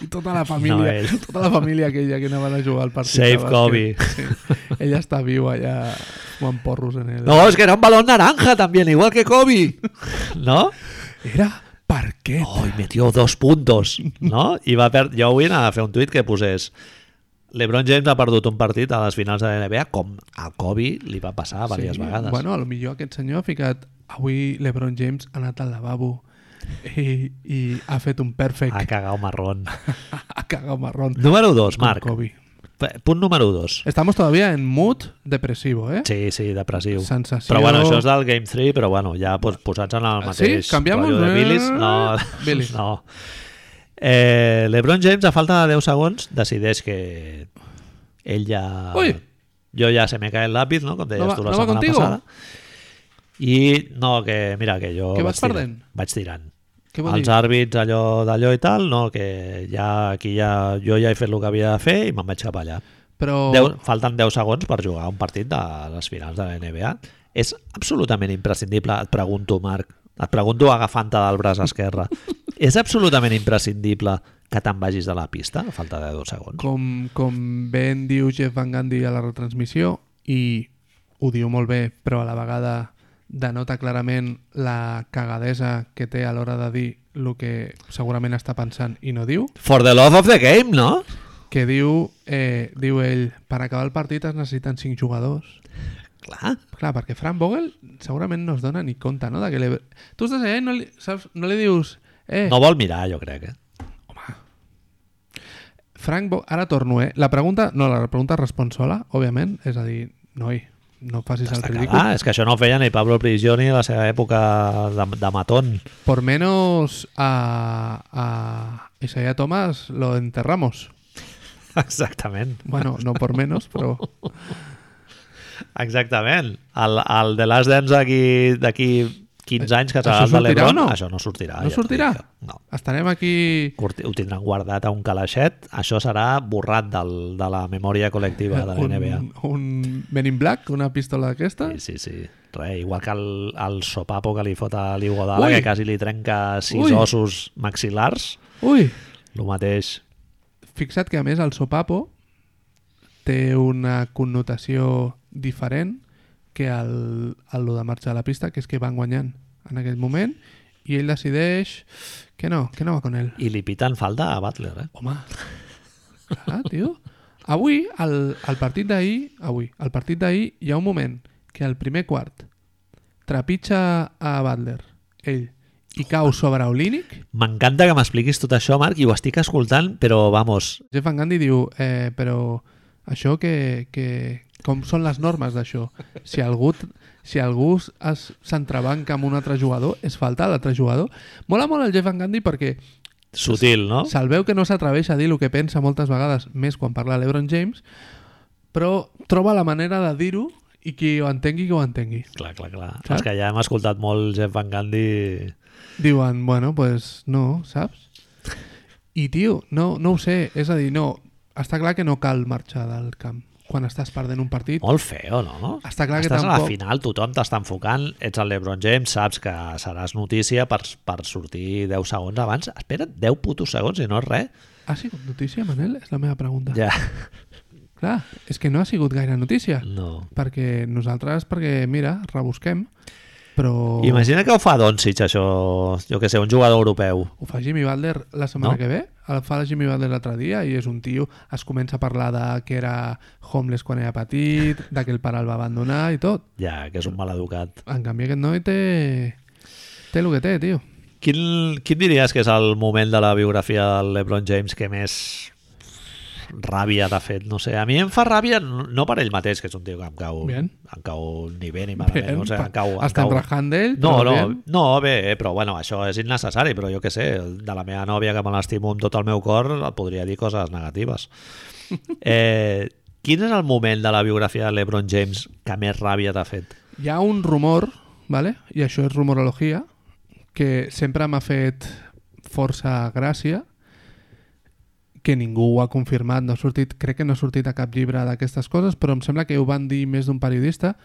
S2: i tota la família,
S1: No, ell.
S2: [laughs] tota la família aquella que anava a jugar al partit.
S1: Save
S2: de bàsquet.
S1: Kobe.
S2: Sí. Ella està viva allà fumant porros en el...
S1: No, és que era un balón naranja también, igual que [laughs] Kobe. ¿No?
S2: Era per què?
S1: Oh, y metió dos puntos, no? I va perdre... Jo avui anava a fer un tuit que posés LeBron James ha perdut un partit a les finals de la NBA com a Kobe li va passar sí, diverses vegades.
S2: Bueno, a lo millor aquest senyor ha ficat... Avui LeBron James ha anat al lavabo i, i ha fet un perfect...
S1: Ha cagat marrón.
S2: [laughs] Ha cagat marrón.
S1: Número 2,
S2: com
S1: Marc.
S2: Kobe.
S1: P- Punt número 2.
S2: Estamos todavía en mood depresivo, ¿eh?
S1: Sí, sí, depressiu.
S2: Sensació-
S1: Però bueno, això és del Game 3, però bueno, ja pues, posats en el
S2: Ah, sí?
S1: mateix
S2: Canviamos?
S1: rotllo de Billis.
S2: [laughs]
S1: No,
S2: Billis.
S1: [laughs] no. Eh, LeBron James, a falta de 10 segons, decideix que ell ja...
S2: Ui!
S1: Jo ja se me cae el lápiz, no? Com deies
S2: No va-
S1: tu la
S2: no va
S1: setmana
S2: contigo?
S1: passada. I no, que mira, que jo
S2: Que
S1: vaig,
S2: vas
S1: tirant,
S2: perdent?
S1: vaig tirant.
S2: Què vol
S1: Els
S2: dir?
S1: àrbits, allò d'allò i tal, no, que ja aquí ja, jo ja he fet el que havia de fer i me'n vaig cap allà.
S2: Però...
S1: 10, falten 10 segons per jugar un partit de les finals de la NBA. És absolutament imprescindible, et pregunto, Marc, et pregunto agafant-te del braç
S2: [laughs]
S1: esquerre. és absolutament imprescindible que te'n vagis de la pista a falta de 2 segons?
S2: Com, com ben diu Jeff Van Gundy a la retransmissió, i ho diu molt bé, però a la vegada denota clarament la cagadesa que té a l'hora de dir el que segurament està pensant i no diu,
S1: For the love of the game, no?
S2: que diu, eh, diu ell, per acabar el partit es necessiten 5 jugadors.
S1: Clar.
S2: Clar, perquè Fran Vogel segurament no es dona ni compte, no? De que li... Tu estàs allà i no li, saps, no li dius... Eh,
S1: No vol mirar, jo crec, eh?
S2: Frank, Bo... ara torno, eh? La pregunta, no, la pregunta respon sola, òbviament, és a dir, noi, no facis el
S1: Està
S2: ridícul.
S1: clar, és que això no ho feia ni Pablo Prigioni a la seva època de, de
S2: [laughs]
S1: matón.
S2: Por menos a, a Isaiah Thomas lo enterramos.
S1: Exactament.
S2: Bueno, no por
S1: [laughs]
S2: menos, però...
S1: Exactament. El, el de Last Dance d'aquí d'aquí 15 anys que serà
S2: Eh, Això
S1: el de
S2: sortirà o
S1: l'Ebron,
S2: no?
S1: això no sortirà.
S2: No
S1: ja et dic
S2: sortirà?
S1: que No.
S2: Estarem aquí...
S1: Curti- Ho tindran guardat a un calaixet. Això serà borrat del, de la memòria col·lectiva de la NBA.
S2: [laughs] un, un Men in Black, una pistola d'aquesta.
S1: Sí, sí, sí. Re, igual que el, el sopapo que li fot a l'Iguodala,
S2: Ui!
S1: que quasi li trenca sis
S2: Ui!
S1: ossos maxilars,
S2: Ui,
S1: el mateix.
S2: fixa't que a més el sopapo té una connotació diferent que el, el lo de marxa a la pista, que és que van guanyant en aquell moment i ell decideix que no, que no va con ell.
S1: I li piten falta a Butler, eh?
S2: Home, clar, tio. Avui, al, al partit d'ahir, avui, al partit d'ahir hi ha un moment que al primer quart trepitja a Butler, ell, i cau sobre Olínic,
S1: M'encanta que m'expliquis tot això, Marc, i ho estic escoltant, però, vamos,
S2: Jeff Van Gundy diu, eh, però això que, que... Com són les normes d'això? Si algú, t- si algú s- es- s'entrebanca amb un altre jugador, és falta a l'altre jugador. Mola molt el Jeff Van Gundy perquè
S1: sutil, no?
S2: se'l veu que no s'atreveix a dir el que pensa moltes vegades, més quan parla l'Ebron James, però troba la manera de dir-ho i qui ho entengui, que ho entengui.
S1: Clar, clar, clar.
S2: Saps?
S1: És que ja hem escoltat molt Jeff Van Gundy...
S2: Diuen, bueno, pues no, saps? I tio, no, no ho sé, és a dir, no, està clar que no cal marxar del camp quan estàs perdent un partit
S1: Molt feo, no?
S2: Està clar que
S1: Estàs a la
S2: tampoc-
S1: final, tothom t'està enfocant, ets el LeBron James, saps que seràs notícia per, per sortir 10 segons abans. Espera't 10 putos segons i no és res.
S2: Ha sigut notícia, Manel? És la meva pregunta.
S1: Ja,
S2: Clar, és que no ha sigut gaire notícia.
S1: no.
S2: Perquè nosaltres, perquè, mira, rebusquem, però
S1: Imagina que ho fa Doncic, això, jo que sé, un jugador europeu.
S2: ho fa Jimmy Butler la setmana
S1: No.
S2: que ve, el fa la Jimmy Butler l'altre dia i és un tio, es comença a parlar de que era homeless quan era petit, de que el pare el va abandonar i tot.
S1: Ja, que és un maleducat.
S2: En canvi aquest noi té... té el que té, tio.
S1: Quin, quin diries que és el moment de la biografia del LeBron James que més ràbia t'ha fet? No sé, a mi em fa ràbia no no per ell mateix, que és un tio que em cau,
S2: Bien.
S1: em cau ni bé ni malament.
S2: Bien,
S1: o sigui,
S2: pa-
S1: em cau, em
S2: estem
S1: cau...
S2: rajant d'ell,
S1: No,
S2: però
S1: no,
S2: bien.
S1: no, bé, eh, però bueno, això és innecessari, però jo que sé, el de la meva nòvia que me l'estimo amb tot el meu cor, et podria dir coses
S2: [laughs]
S1: negatives. Eh, quin és el moment de la biografia de LeBron James que més ràbia t'ha fet?
S2: Hi ha un rumor, ¿vale? i això és rumorologia, que sempre m'ha fet força gràcia, que ningú ho ha confirmat, no ha sortit, crec que no ha sortit a cap llibre d'aquestes coses, però em sembla que ho van dir més d'un periodista,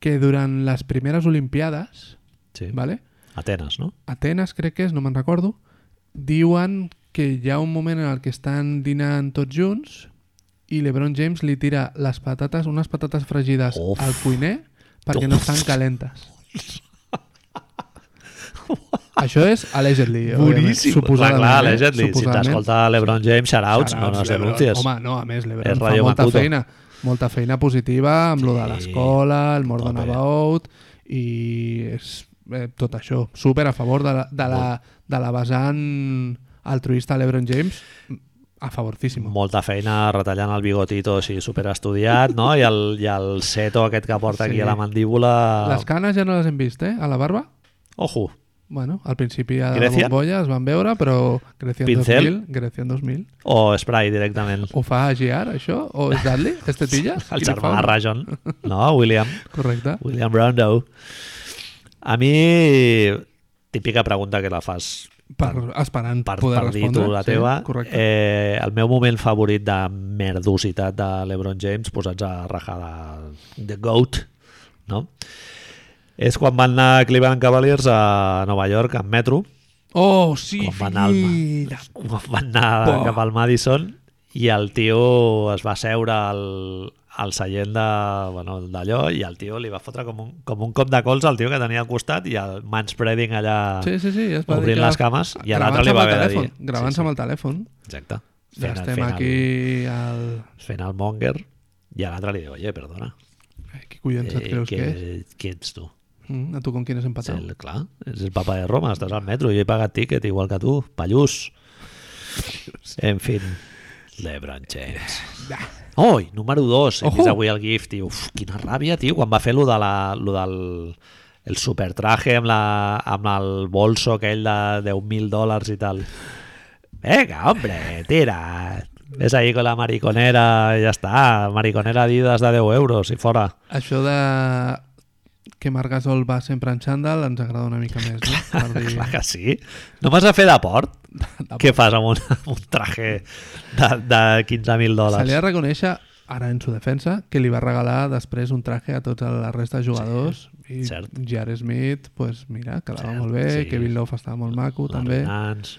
S2: que durant les primeres Olimpiades,
S1: Sí.
S2: ¿vale?
S1: Atenes, no?
S2: Atenes crec que és, no me'n recordo, diuen que hi ha un moment en el que estan dinant tots junts i l'Ebron James li tira les patates, unes patates fregides
S1: Uf.
S2: al cuiner perquè no estan
S1: [laughs]
S2: calentes. Això és allegedly. òbviament,
S1: Boníssim.
S2: Suposadament.
S1: clar, clar,
S2: eh?
S1: allegedly. Si
S2: Suposadament.
S1: t'escolta LeBron James, shoutouts, no, no
S2: Xarauts,
S1: es
S2: l'Ebron.
S1: denuncies.
S2: Home, no, a més, l'Ebron
S1: És
S2: fa
S1: Radio
S2: molta
S1: Makuto.
S2: feina. Molta feina positiva amb lo de
S1: Sí.
S2: l'escola, el Mordon
S1: Tope.
S2: About i és eh, tot això. Super a favor de la, de la, de la vessant altruista LeBron James. A favorcíssim.
S1: Molta feina retallant el bigotito així superestudiat, no? I el, i el seto aquest que porta
S2: Sí.
S1: aquí a la mandíbula...
S2: Les canes ja no les hem vist, eh? A la barba?
S1: Ojo,
S2: Bueno, al principi a la
S1: Grecian?
S2: bombolla es van veure, però Grecian
S1: Pincel?
S2: 2000, Grecian 2000.
S1: o spray directament.
S2: Ho fa Giar, això? O és Dudley? este Estetillas?
S1: El germà de Rajon, no? William.
S2: Correcte.
S1: William Rondo. A mi, típica pregunta que la fas
S2: Per, esperant
S1: per,
S2: poder
S1: per dir
S2: respondre.
S1: tu la teva.
S2: Sí, correcte.
S1: eh, el meu moment favorit de merdositat de l'Ebron James, posats a rajar de, de GOAT, no? és quan van anar Cleveland Cavaliers a Nova York en metro,
S2: Oh, sí,
S1: quan van, al,
S2: filla.
S1: quan van anar
S2: Buah.
S1: cap al Madison i el tio es va seure al, al seient de, bueno, d'allò i el tio li va fotre com un, com un cop de cols al tio que tenia al costat i el manspreading allà
S2: Sí, sí, sí. Es va dir
S1: obrint
S2: que-
S1: les cames i a l'altre
S2: gravant-se
S1: li va
S2: amb el
S1: haver de dir.
S2: telèfon, Gravant-se amb el telèfon.
S1: Exacte.
S2: Ja
S1: el-
S2: estem
S1: el-
S2: aquí al...
S1: fent el monger i a l'altre li diu, oye, perdona,
S2: Ai, qui collons et
S1: eh,
S2: creus que és?
S1: que, qui ets tu?
S2: Mm, a tu com quines
S1: Ets
S2: empateu?
S1: el, clar, ets el papa de Roma, estàs al metro, jo he pagat tiquet igual que tu, pallús. En fi, LeBron James. Oi, número 2, he
S2: Ojo.
S1: vist avui el GIF, tio. Uf, quina ràbia, tio, quan va fer lo, de la, lo del el supertraje amb, la, amb el bolso aquell de 10.000 dòlars i tal. Venga, hombre, tira. Ves ahí con la mariconera i ja està. Mariconera Adidas de 10 euros i fora.
S2: Això de que Marc Gasol va sempre en xandall ens agrada una mica més, no? Per
S1: [laughs]
S2: dir...
S1: Clar que sí. No m'has de fer deport? Què fas amb un, amb un traje de, de 15.000
S2: Se li
S1: dòlars?
S2: ha de reconèixer, ara en su defensa, que li va regalar després un traje a tots la resta de jugadors. I
S1: cert.
S2: Jared Smith, pues mira, quedava
S1: Cert,
S2: molt bé,
S1: sí.
S2: Kevin Love estava molt maco, també.
S1: Nans,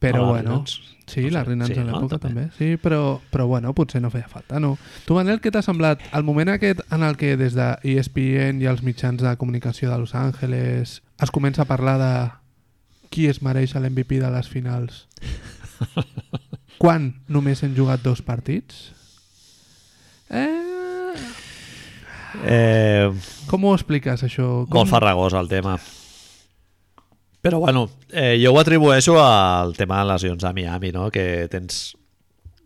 S2: Però
S1: Hola,
S2: bueno,
S1: Rinans.
S2: sí,
S1: No sé.
S2: la Rinans
S1: Sí,
S2: en
S1: no?
S2: l'època també.
S1: També.
S2: Sí, però, però bueno, potser no feia falta, no? Tu, Manel, què t'ha semblat? El moment aquest en el que des de ESPN i els mitjans de comunicació de Los Angeles es comença a parlar de qui es mereix l'MVP de les
S1: [laughs]
S2: finals quan només hem jugat dos partits? Eh,
S1: Eh,
S2: com ho expliques, això? Com...
S1: molt farragós el tema. Però bueno, eh, jo ho atribueixo al tema de lesions a Miami, no? que tens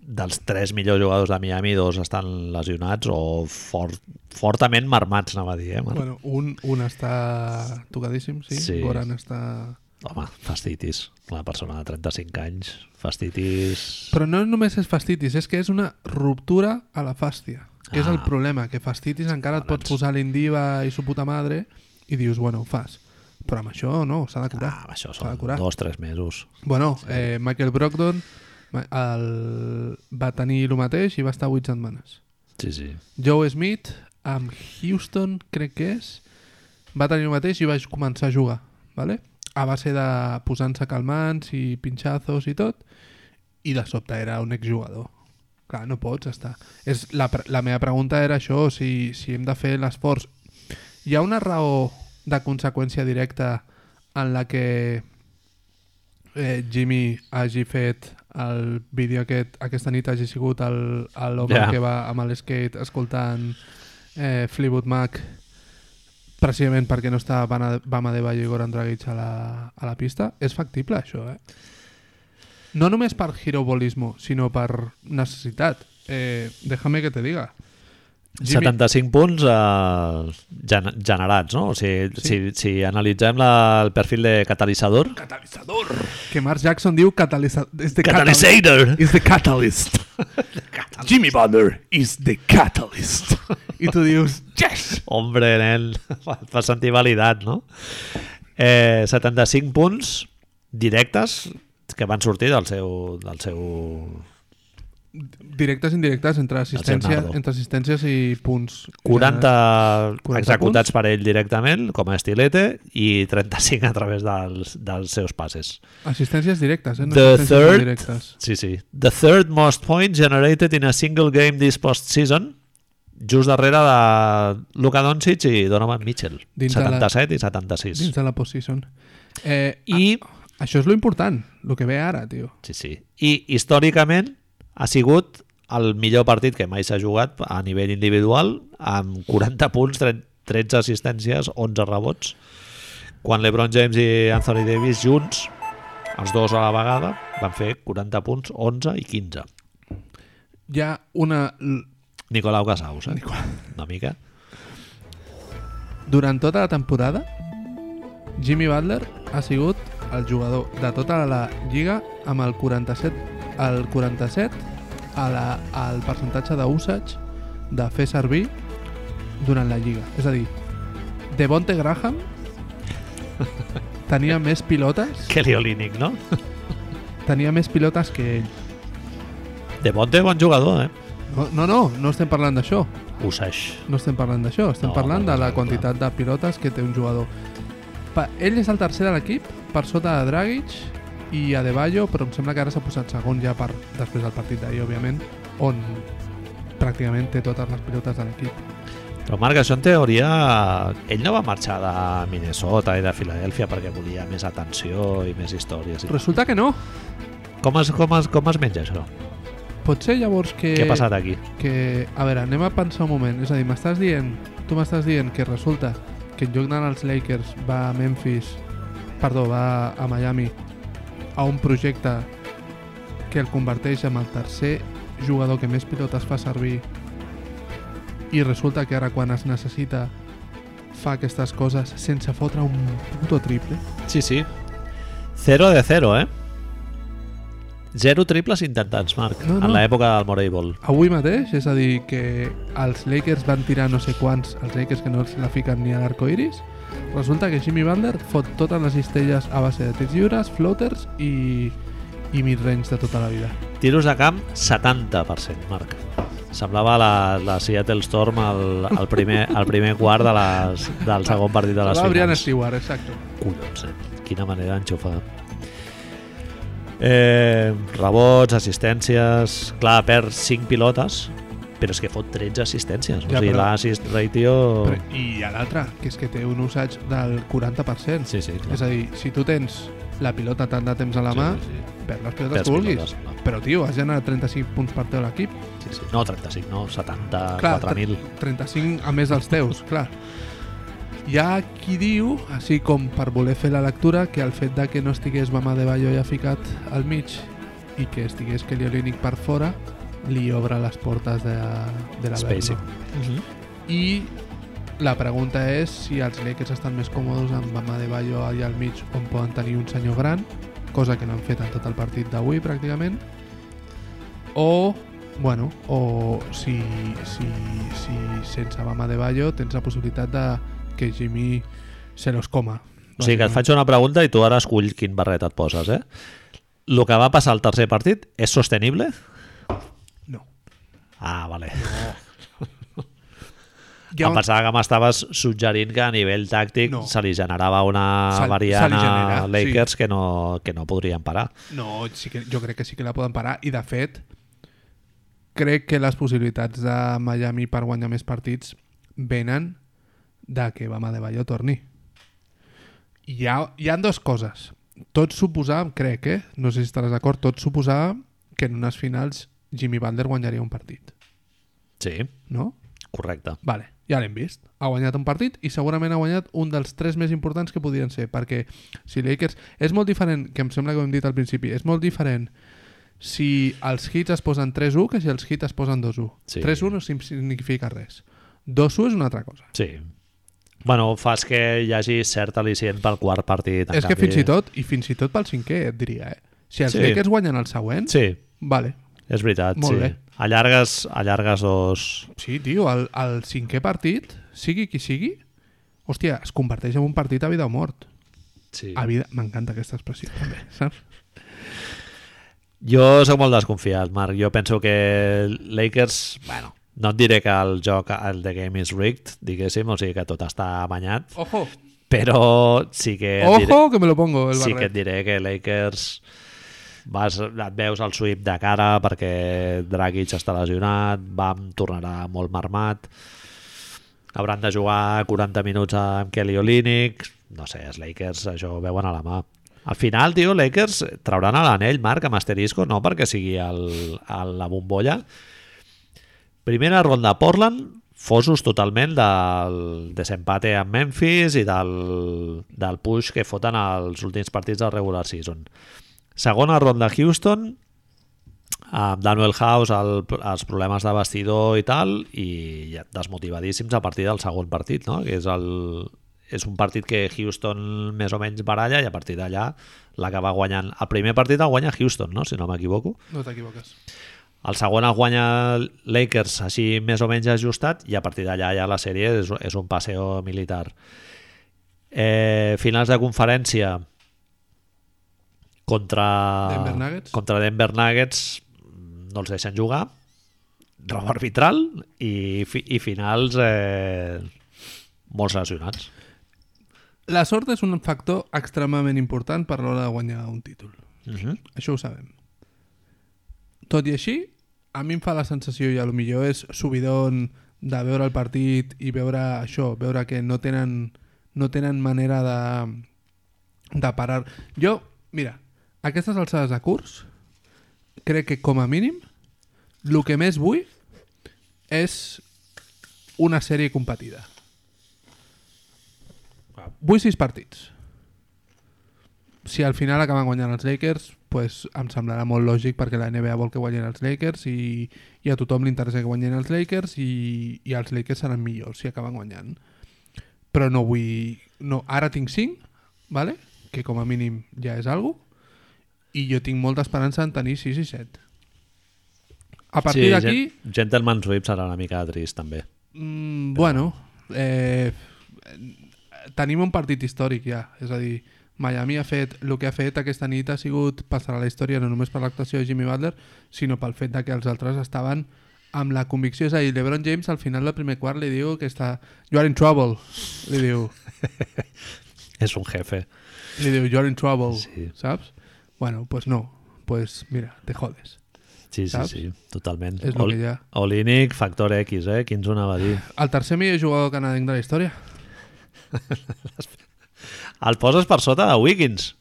S1: dels tres millors jugadors de Miami, dos estan lesionats o fort, fortament marmats, anava a dir. Eh, Marc?
S2: Bueno, un, un està tocadíssim, sí?
S1: Sí.
S2: Goran està...
S1: Home, fastitis. Una persona de 35 anys, fastitis...
S2: Però no només és fastitis, és que és una ruptura a la fàstia, que és el
S1: Ah.
S2: problema, que fastitis encara et pots
S1: Doncs-
S2: posar l'indiva i su puta madre i dius, bueno, ho fas. Però amb això no, s'ha de curar.
S1: Ah, això
S2: S'ha
S1: són
S2: de curar.
S1: dos o tres mesos.
S2: Bueno, eh, Michael Brogdon ma- el... va tenir el mateix i va estar 8 setmanes.
S1: Sí, sí.
S2: Joe Smith, amb Houston, crec que és, va tenir el mateix i va començar a jugar, ¿vale? a base de posant-se calmants i pinxazos i tot, i de sobte era un exjugador. Clar, no pots estar... És la, pre- la meva pregunta era això, si, si hem de fer l'esforç. Hi ha una raó de conseqüència directa en la que eh, Jimmy hagi fet el vídeo aquest, aquesta nit hagi sigut el- el home yeah.
S1: Ja.
S2: que va amb l'skate escoltant eh, Fleetwood Mac precisament perquè no estava Bana- Bama de Valle i Goran Dragic a la, a la pista, és factible això, eh? No només per hirobolismo, sinó per necessitat. Eh, déjame que te diga. Jimmy-
S1: 75 punts eh, gen generats, no? O sigui,
S2: Sí.
S1: si, si analitzem la, el perfil de catalitzador...
S2: Catalitzador. Que Mark Jackson diu catalitzador. És de
S1: Catalitzador!
S2: Is the catalyst.
S3: [laughs] Jimmy Butler is the catalyst.
S2: I tu dius, yes!
S1: Hombre, nen, [laughs] et fa sentir validat, no? Eh, 75 punts directes que van sortir del seu, del seu
S2: Directes i indirectes entre assistències,
S1: Leonardo.
S2: entre assistències i punts.
S1: 40, 40
S2: 40
S1: executats per ell directament com a estilete i 35 a través dels, dels seus passes.
S2: Assistències directes, eh? No
S1: The
S2: assistències no
S1: third-
S2: directes.
S1: Sí, sí. The third most points generated in a single game this postseason, just darrere de Luka Doncic i Donovan Mitchell.
S2: Dins de la-
S1: 77 i 76.
S2: Dins de la postseason. Eh, I...
S1: I,
S2: això és lo important, lo que ve ara, tio.
S1: sí, sí. I històricament ha sigut el millor partit que mai s'ha jugat a nivell individual, amb 40 punts, tre- 13 assistències, 11 rebots. Quan LeBron James i Anthony Davis junts, els dos a la vegada, van fer 40 punts, 11 i 15.
S2: Hi ha una... l-
S1: Nicolau Casaus, eh? Una mica.
S2: Durant tota la temporada, Jimmy Butler ha sigut el jugador de tota la lliga amb el 47, el 47 a la, al percentatge d'usage de fer servir durant la lliga. És a dir, Devonte Graham tenia més pilotes
S1: Kelly Olínic, no?
S2: tenia més pilotes que ell.
S1: De Bonte, bon jugador, eh?
S2: No, no, no, no estem parlant d'això.
S1: Usage.
S2: No estem parlant d'això, estem
S1: No,
S2: parlant de la
S1: clar.
S2: quantitat de pilotes que té un jugador. Pa ell és el tercer de l'equip, per sota de Dragic i Adebayo, però em sembla que ara s'ha posat segon ja per després del partit d'ahir, òbviament, on pràcticament té totes les pilotes de l'equip.
S1: Però Marc, això en teoria... Ell no va marxar de Minnesota i de Filadèlfia perquè volia més atenció i més històries. I...
S2: Resulta que no.
S1: Com, es, com, es, com es menja això?
S2: Pot ser llavors que...
S1: Eh... Què ha passat aquí?
S2: que, a veure, anem a pensar un moment. És a dir, m'estàs dient, tu m'estàs dient que resulta que en lloc d'anar als Lakers va a Memphis, perdó, va a Miami, a un projecte que el converteix en el tercer jugador que més pilotes fa servir i resulta que ara quan es necessita fa aquestes coses sense fotre un puto triple.
S1: Sí, sí. Zero de zero, eh? Zero triples intentats, Marc,
S2: No,
S1: no,
S2: no.
S1: no. en l'època del Morey Ball.
S2: Avui mateix, és a dir, que els Lakers van tirar no sé quants, els Lakers que no els la fiquen ni a l'arcoiris, resulta que Jimmy Butler fot totes les cistelles a base de tirs lliures, floaters i, i midrange de tota la vida.
S1: Tiros de camp, 70%, Marc. Semblava la, la Seattle Storm al, al, primer, al primer quart de les, del segon partit de les
S2: La Brian
S1: finals.
S2: Stewart, exacte.
S1: Collons, eh? Quina manera d'enxufar. Eh, rebots, assistències... Clar, perd 5 pilotes, però és que fot 13 assistències.
S2: Ja,
S1: o sigui,
S2: però-
S1: l'assist ratio...
S2: Però, I a l'altre, que és que té un usatge del 40%.
S1: Sí, sí, clar.
S2: És a dir, si tu tens la pilota tant de temps a la mà,
S1: Sí, sí, sí.
S2: perd les pilotes
S1: Perds
S2: que vulguis.
S1: pilotes, clar.
S2: Però, tio, has generat 35 punts per teu l'equip.
S1: Sí, sí. No, 35, no,
S2: Clar,
S1: 74.000.
S2: 35 a més dels teus, [laughs] clar. Hi ha qui diu, així com per voler fer la lectura, que el fet de que no estigués Bama de Bayo ja ficat al mig i que estigués Kelly Olynyk per fora li obre les portes de, de la
S1: Spacing.
S2: Mhm. I la pregunta és si els Lakers estan més còmodes amb Bama de Bayo allà al mig on poden tenir un senyor gran, cosa que no han fet en tot el partit d'avui pràcticament, o bueno, o si, si, si sense Bama de Bayo tens la possibilitat de que Jimmy se los coma.
S1: O sigui que et faig una pregunta i tu ara escull quin barret et poses, eh? El que va passar al tercer partit és sostenible?
S2: No.
S1: Ah, vale.
S2: Hi ha
S1: Em
S2: un...
S1: pensava que m'estaves suggerint que a nivell tàctic
S2: No.
S1: se li generava una
S2: Se- se li
S1: variant
S2: genera,
S1: a
S2: sí.
S1: Lakers que, no, que no podrien parar.
S2: No, sí que, jo crec que sí que la poden parar i de fet crec que les possibilitats de Miami per guanyar més partits venen de que Bama de Bayo torni. Hi ha, hi ha dues coses. Tots suposàvem, crec, eh? no sé si estaràs d'acord, tots suposàvem que en unes finals Jimmy Butler guanyaria un partit,
S1: Sí,
S2: no?
S1: correcte.
S2: Vale, ja l'hem vist. Ha guanyat un partit i segurament ha guanyat un dels tres més importants que podien ser, perquè si Lakers... És molt diferent, que em sembla que ho hem dit al principi, és molt diferent si els hits es posen 3-1 que si els hits es posen 2-1.
S1: Sí.
S2: 3-1 no sim- significa res. 2-1 és una altra cosa.
S1: Sí. Bueno, fas que hi hagi cert al·licient pel quart partit. en
S2: és que
S1: canvi.
S2: fins i tot, i fins i tot pel cinquè, et diria, eh? Si els
S1: Sí.
S2: sí. Lakers guanyen el següent, sí.
S1: Sí,
S2: vale.
S1: és veritat.
S2: Molt
S1: sí.
S2: bé.
S1: Allargues, allargues dos...
S2: Sí, tio, el, el cinquè partit, sigui qui sigui, hòstia, es converteix en un partit a vida o mort.
S1: Sí.
S2: A vida... M'encanta aquesta expressió, també, saps?
S1: Jo sóc molt desconfiat, Marc. Jo penso que Lakers, bueno, no et diré que el joc, el The Game is rigged, diguéssim, o sigui que tot està banyat,
S2: Ojo,
S1: però sí que et Eh, diré,
S2: ojo que me lo pongo el
S1: sí que
S2: barret.
S1: et diré que Lakers vas, et veus el sweep de cara perquè Dragic està lesionat, Bam tornarà molt marmat, hauran de jugar 40 minuts amb Kelly Olynyk, no sé, els Lakers això ho veuen a la mà. Al final, tio, Lakers trauran a l'anell, Marc, amb asterisco, no perquè sigui el, el, la bombolla. Primera ronda Portland, fosos totalment del desempate amb Memphis i del, del push que foten als últims partits del regular season. Segona ronda Houston, amb Daniel House el, els problemes de vestidor i tal i ja desmotivadíssims a partir del segon partit no? que és, el, és un partit que Houston més o menys baralla i a partir d'allà l'acaba guanyant el primer partit el guanya Houston, no? si no m'equivoco
S2: No t'equivoques.
S1: el segon el guanya Lakers així més o menys ajustat i a partir d'allà ja la sèrie és, és un passeo militar. Eh, finals de conferència contra
S2: Denver Nuggets.
S1: contra Denver Nuggets no els deixen jugar drama arbitral i, fi, i finals eh, molts lesionats
S2: La sort és un factor extremament important
S1: Mhm.
S2: per l'hora de guanyar un títol.
S1: uh -huh.
S2: Això ho sabem. Tot i així, a mi em fa la sensació, i a lo millor és subidon de veure el partit i veure això, veure que no tenen, no tenen manera de, de parar. Jo, mira, a aquestes alçades de curs, crec que com a mínim, el que més vull és una sèrie competida. Vull sis partits. Si al final acaben guanyant els Lakers, pues em semblarà molt lògic perquè la NBA vol que guanyin els Lakers i, i a tothom li interessa que guanyin els Lakers i, i els Lakers seran millors si acaben guanyant. Però no vull... No, ara tinc 5, vale? que com a mínim ja és algo i jo tinc molta esperança en tenir 6 i 7. A partir sí, d'aquí...
S1: Gen Gentleman Sweep serà una mica trist, també.
S2: Mm, bueno, eh, tenim un partit històric ja, és a dir, Miami ha fet, el que ha fet aquesta nit ha sigut passar a la història no només per l'actuació de Jimmy Butler, sinó pel fet de que els altres estaven amb la convicció, és a dir, LeBron James al final del primer quart li diu que està you are in trouble, li diu
S1: És un jefe.
S2: li diu you are in trouble,
S1: Sí.
S2: saps? Bueno, pues no, pues mira, te jodes.
S1: Sí, sí,
S2: Saps?
S1: sí, totalment.
S2: És lo
S1: Ol-
S2: que hi ha.
S1: Olínic, factor X, eh? Quins una va dir.
S2: El tercer millor jugador canadenc de la història,
S1: El poses per sota de Wiggins.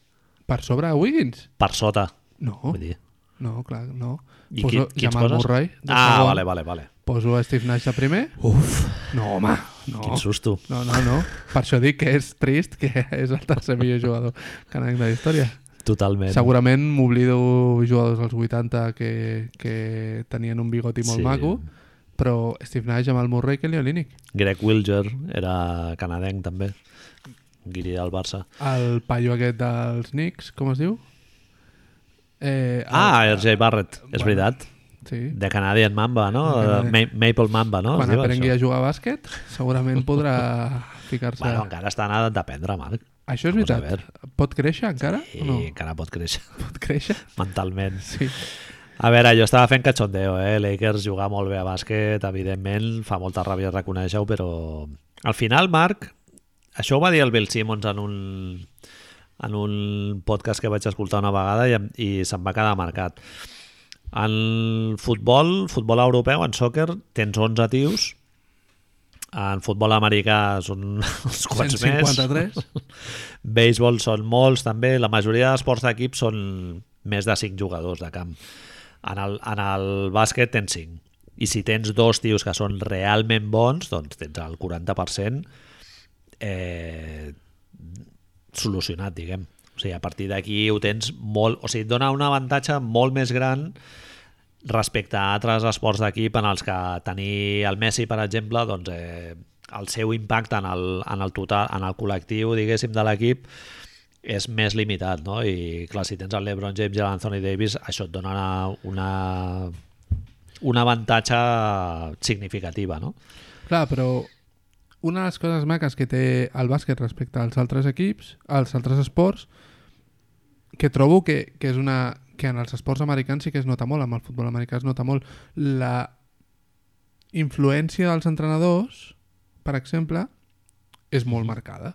S2: per sobre de Wiggins?
S1: Per sota,
S2: No,
S1: vull dir.
S2: no, clar, no.
S1: I qui,
S2: Poso
S1: quins
S2: Oh. Jamal
S1: poses?
S2: Murray. de
S1: Ah,
S2: segon.
S1: vale, vale, vale.
S2: Poso a Steve Nash de primer.
S1: Uf,
S2: No, home, no.
S1: quin susto.
S2: No, no, no. Per això dic que és trist que [laughs] és el tercer millor jugador canadenc de la història.
S1: Totalment.
S2: Segurament m'oblido jugadors als 80 que, que tenien un bigoti molt
S1: Sí.
S2: sí. maco, però Steve Nash, Jamal Murray, Kelly Olynyk.
S1: Greg Wilger era canadenc, també. Guiri del Barça.
S2: El paio aquest dels Knicks, com es diu? Eh, el-
S1: Ah, RJ Barrett, és
S2: Bueno.
S1: veritat.
S2: Sí.
S1: De Canadian Mamba, no?
S2: Canadian.
S1: Ma Maple Mamba, no? Es
S2: Quan
S1: diu
S2: aprengui
S1: això?
S2: a jugar a bàsquet, segurament podrà
S1: [laughs]
S2: ficar-se...
S1: Bueno, encara està anant d'aprendre, Marc.
S2: Això és
S1: vamos a
S2: veritat. Pot créixer encara?
S1: I
S2: o No,
S1: encara pot créixer [laughs]
S2: pot créixer.
S1: mentalment.
S2: Sí.
S1: A veure, jo estava fent cachondeo, eh? Lakers jugar molt bé a bàsquet, evidentment, fa molta ràbia reconèixer-ho, però al final, Marc, això ho va dir el Bill Simmons en un, en un podcast que vaig escoltar una vegada i, em- i se'm va quedar marcat. En futbol, futbol europeu, en soccer, tens 11 tios, en futbol americà són uns quants més
S2: 153.
S1: béisbol són molts també, la majoria d'esports d'equip són més de 5 jugadors de camp. En el, en el bàsquet tens 5. I si tens dos tios que són realment bons, doncs tens el 40% eh, solucionat, diguem. O sigui, a partir d'aquí ho tens molt... O sigui, et dona un avantatge molt més gran respecte a altres esports d'equip en els que tenir el Messi, per exemple, doncs, eh, el seu impacte en el, en el, total, en el col·lectiu, diguéssim, de l'equip és més limitat, no? I clar, si tens el LeBron James i l'Anthony Davis, això et dona una, una, un avantatge significativa, no?
S2: Clar, però una de les coses maques que té el bàsquet respecte als altres equips, als altres esports, que trobo que, que és una que en els esports americans sí que es nota molt, amb el futbol americà es nota molt, la influència dels entrenadors, per exemple, és
S1: Mm-hmm.
S2: molt marcada.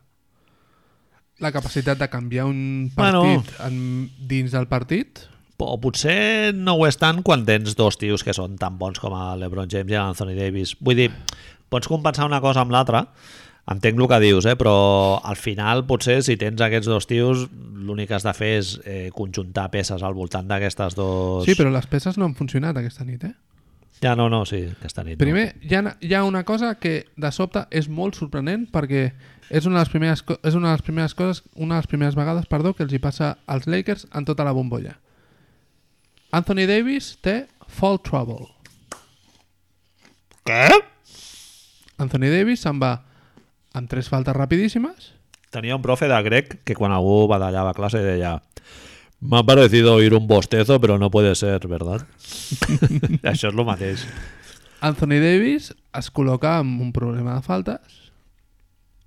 S2: La capacitat de canviar un
S1: Bueno.
S2: partit bueno. en, dins del partit,
S1: O potser no ho és tant quan tens dos tios que són tan bons com a LeBron James i l'Anthony Davis. Vull dir, pots compensar una cosa amb l'altra, entenc el que dius, eh? però al final potser si tens aquests dos tios l'únic que has de fer és eh, conjuntar peces al voltant d'aquestes dos...
S2: sí, però les peces no han funcionat aquesta nit, eh?
S1: Ja, no, no, sí, aquesta nit.
S2: Primer, hi ha, hi ha una cosa que de sobte és molt sorprenent perquè és una de les primeres, co- és una de les primeres coses, una de les primeres vegades, perdó, que els hi passa als Lakers en tota la bombolla. Anthony Davis té fall trouble.
S1: No. Què?
S2: Anthony Davis se'n va amb tres faltes rapidíssimes.
S1: Tenia un profe de grec que quan algú badallava a classe deia M'ha parecido oír un bostezo, però no puede ser,
S2: [laughs]
S1: ¿verdad? Això és el mateix.
S2: Anthony Davis es col·loca amb un problema de faltes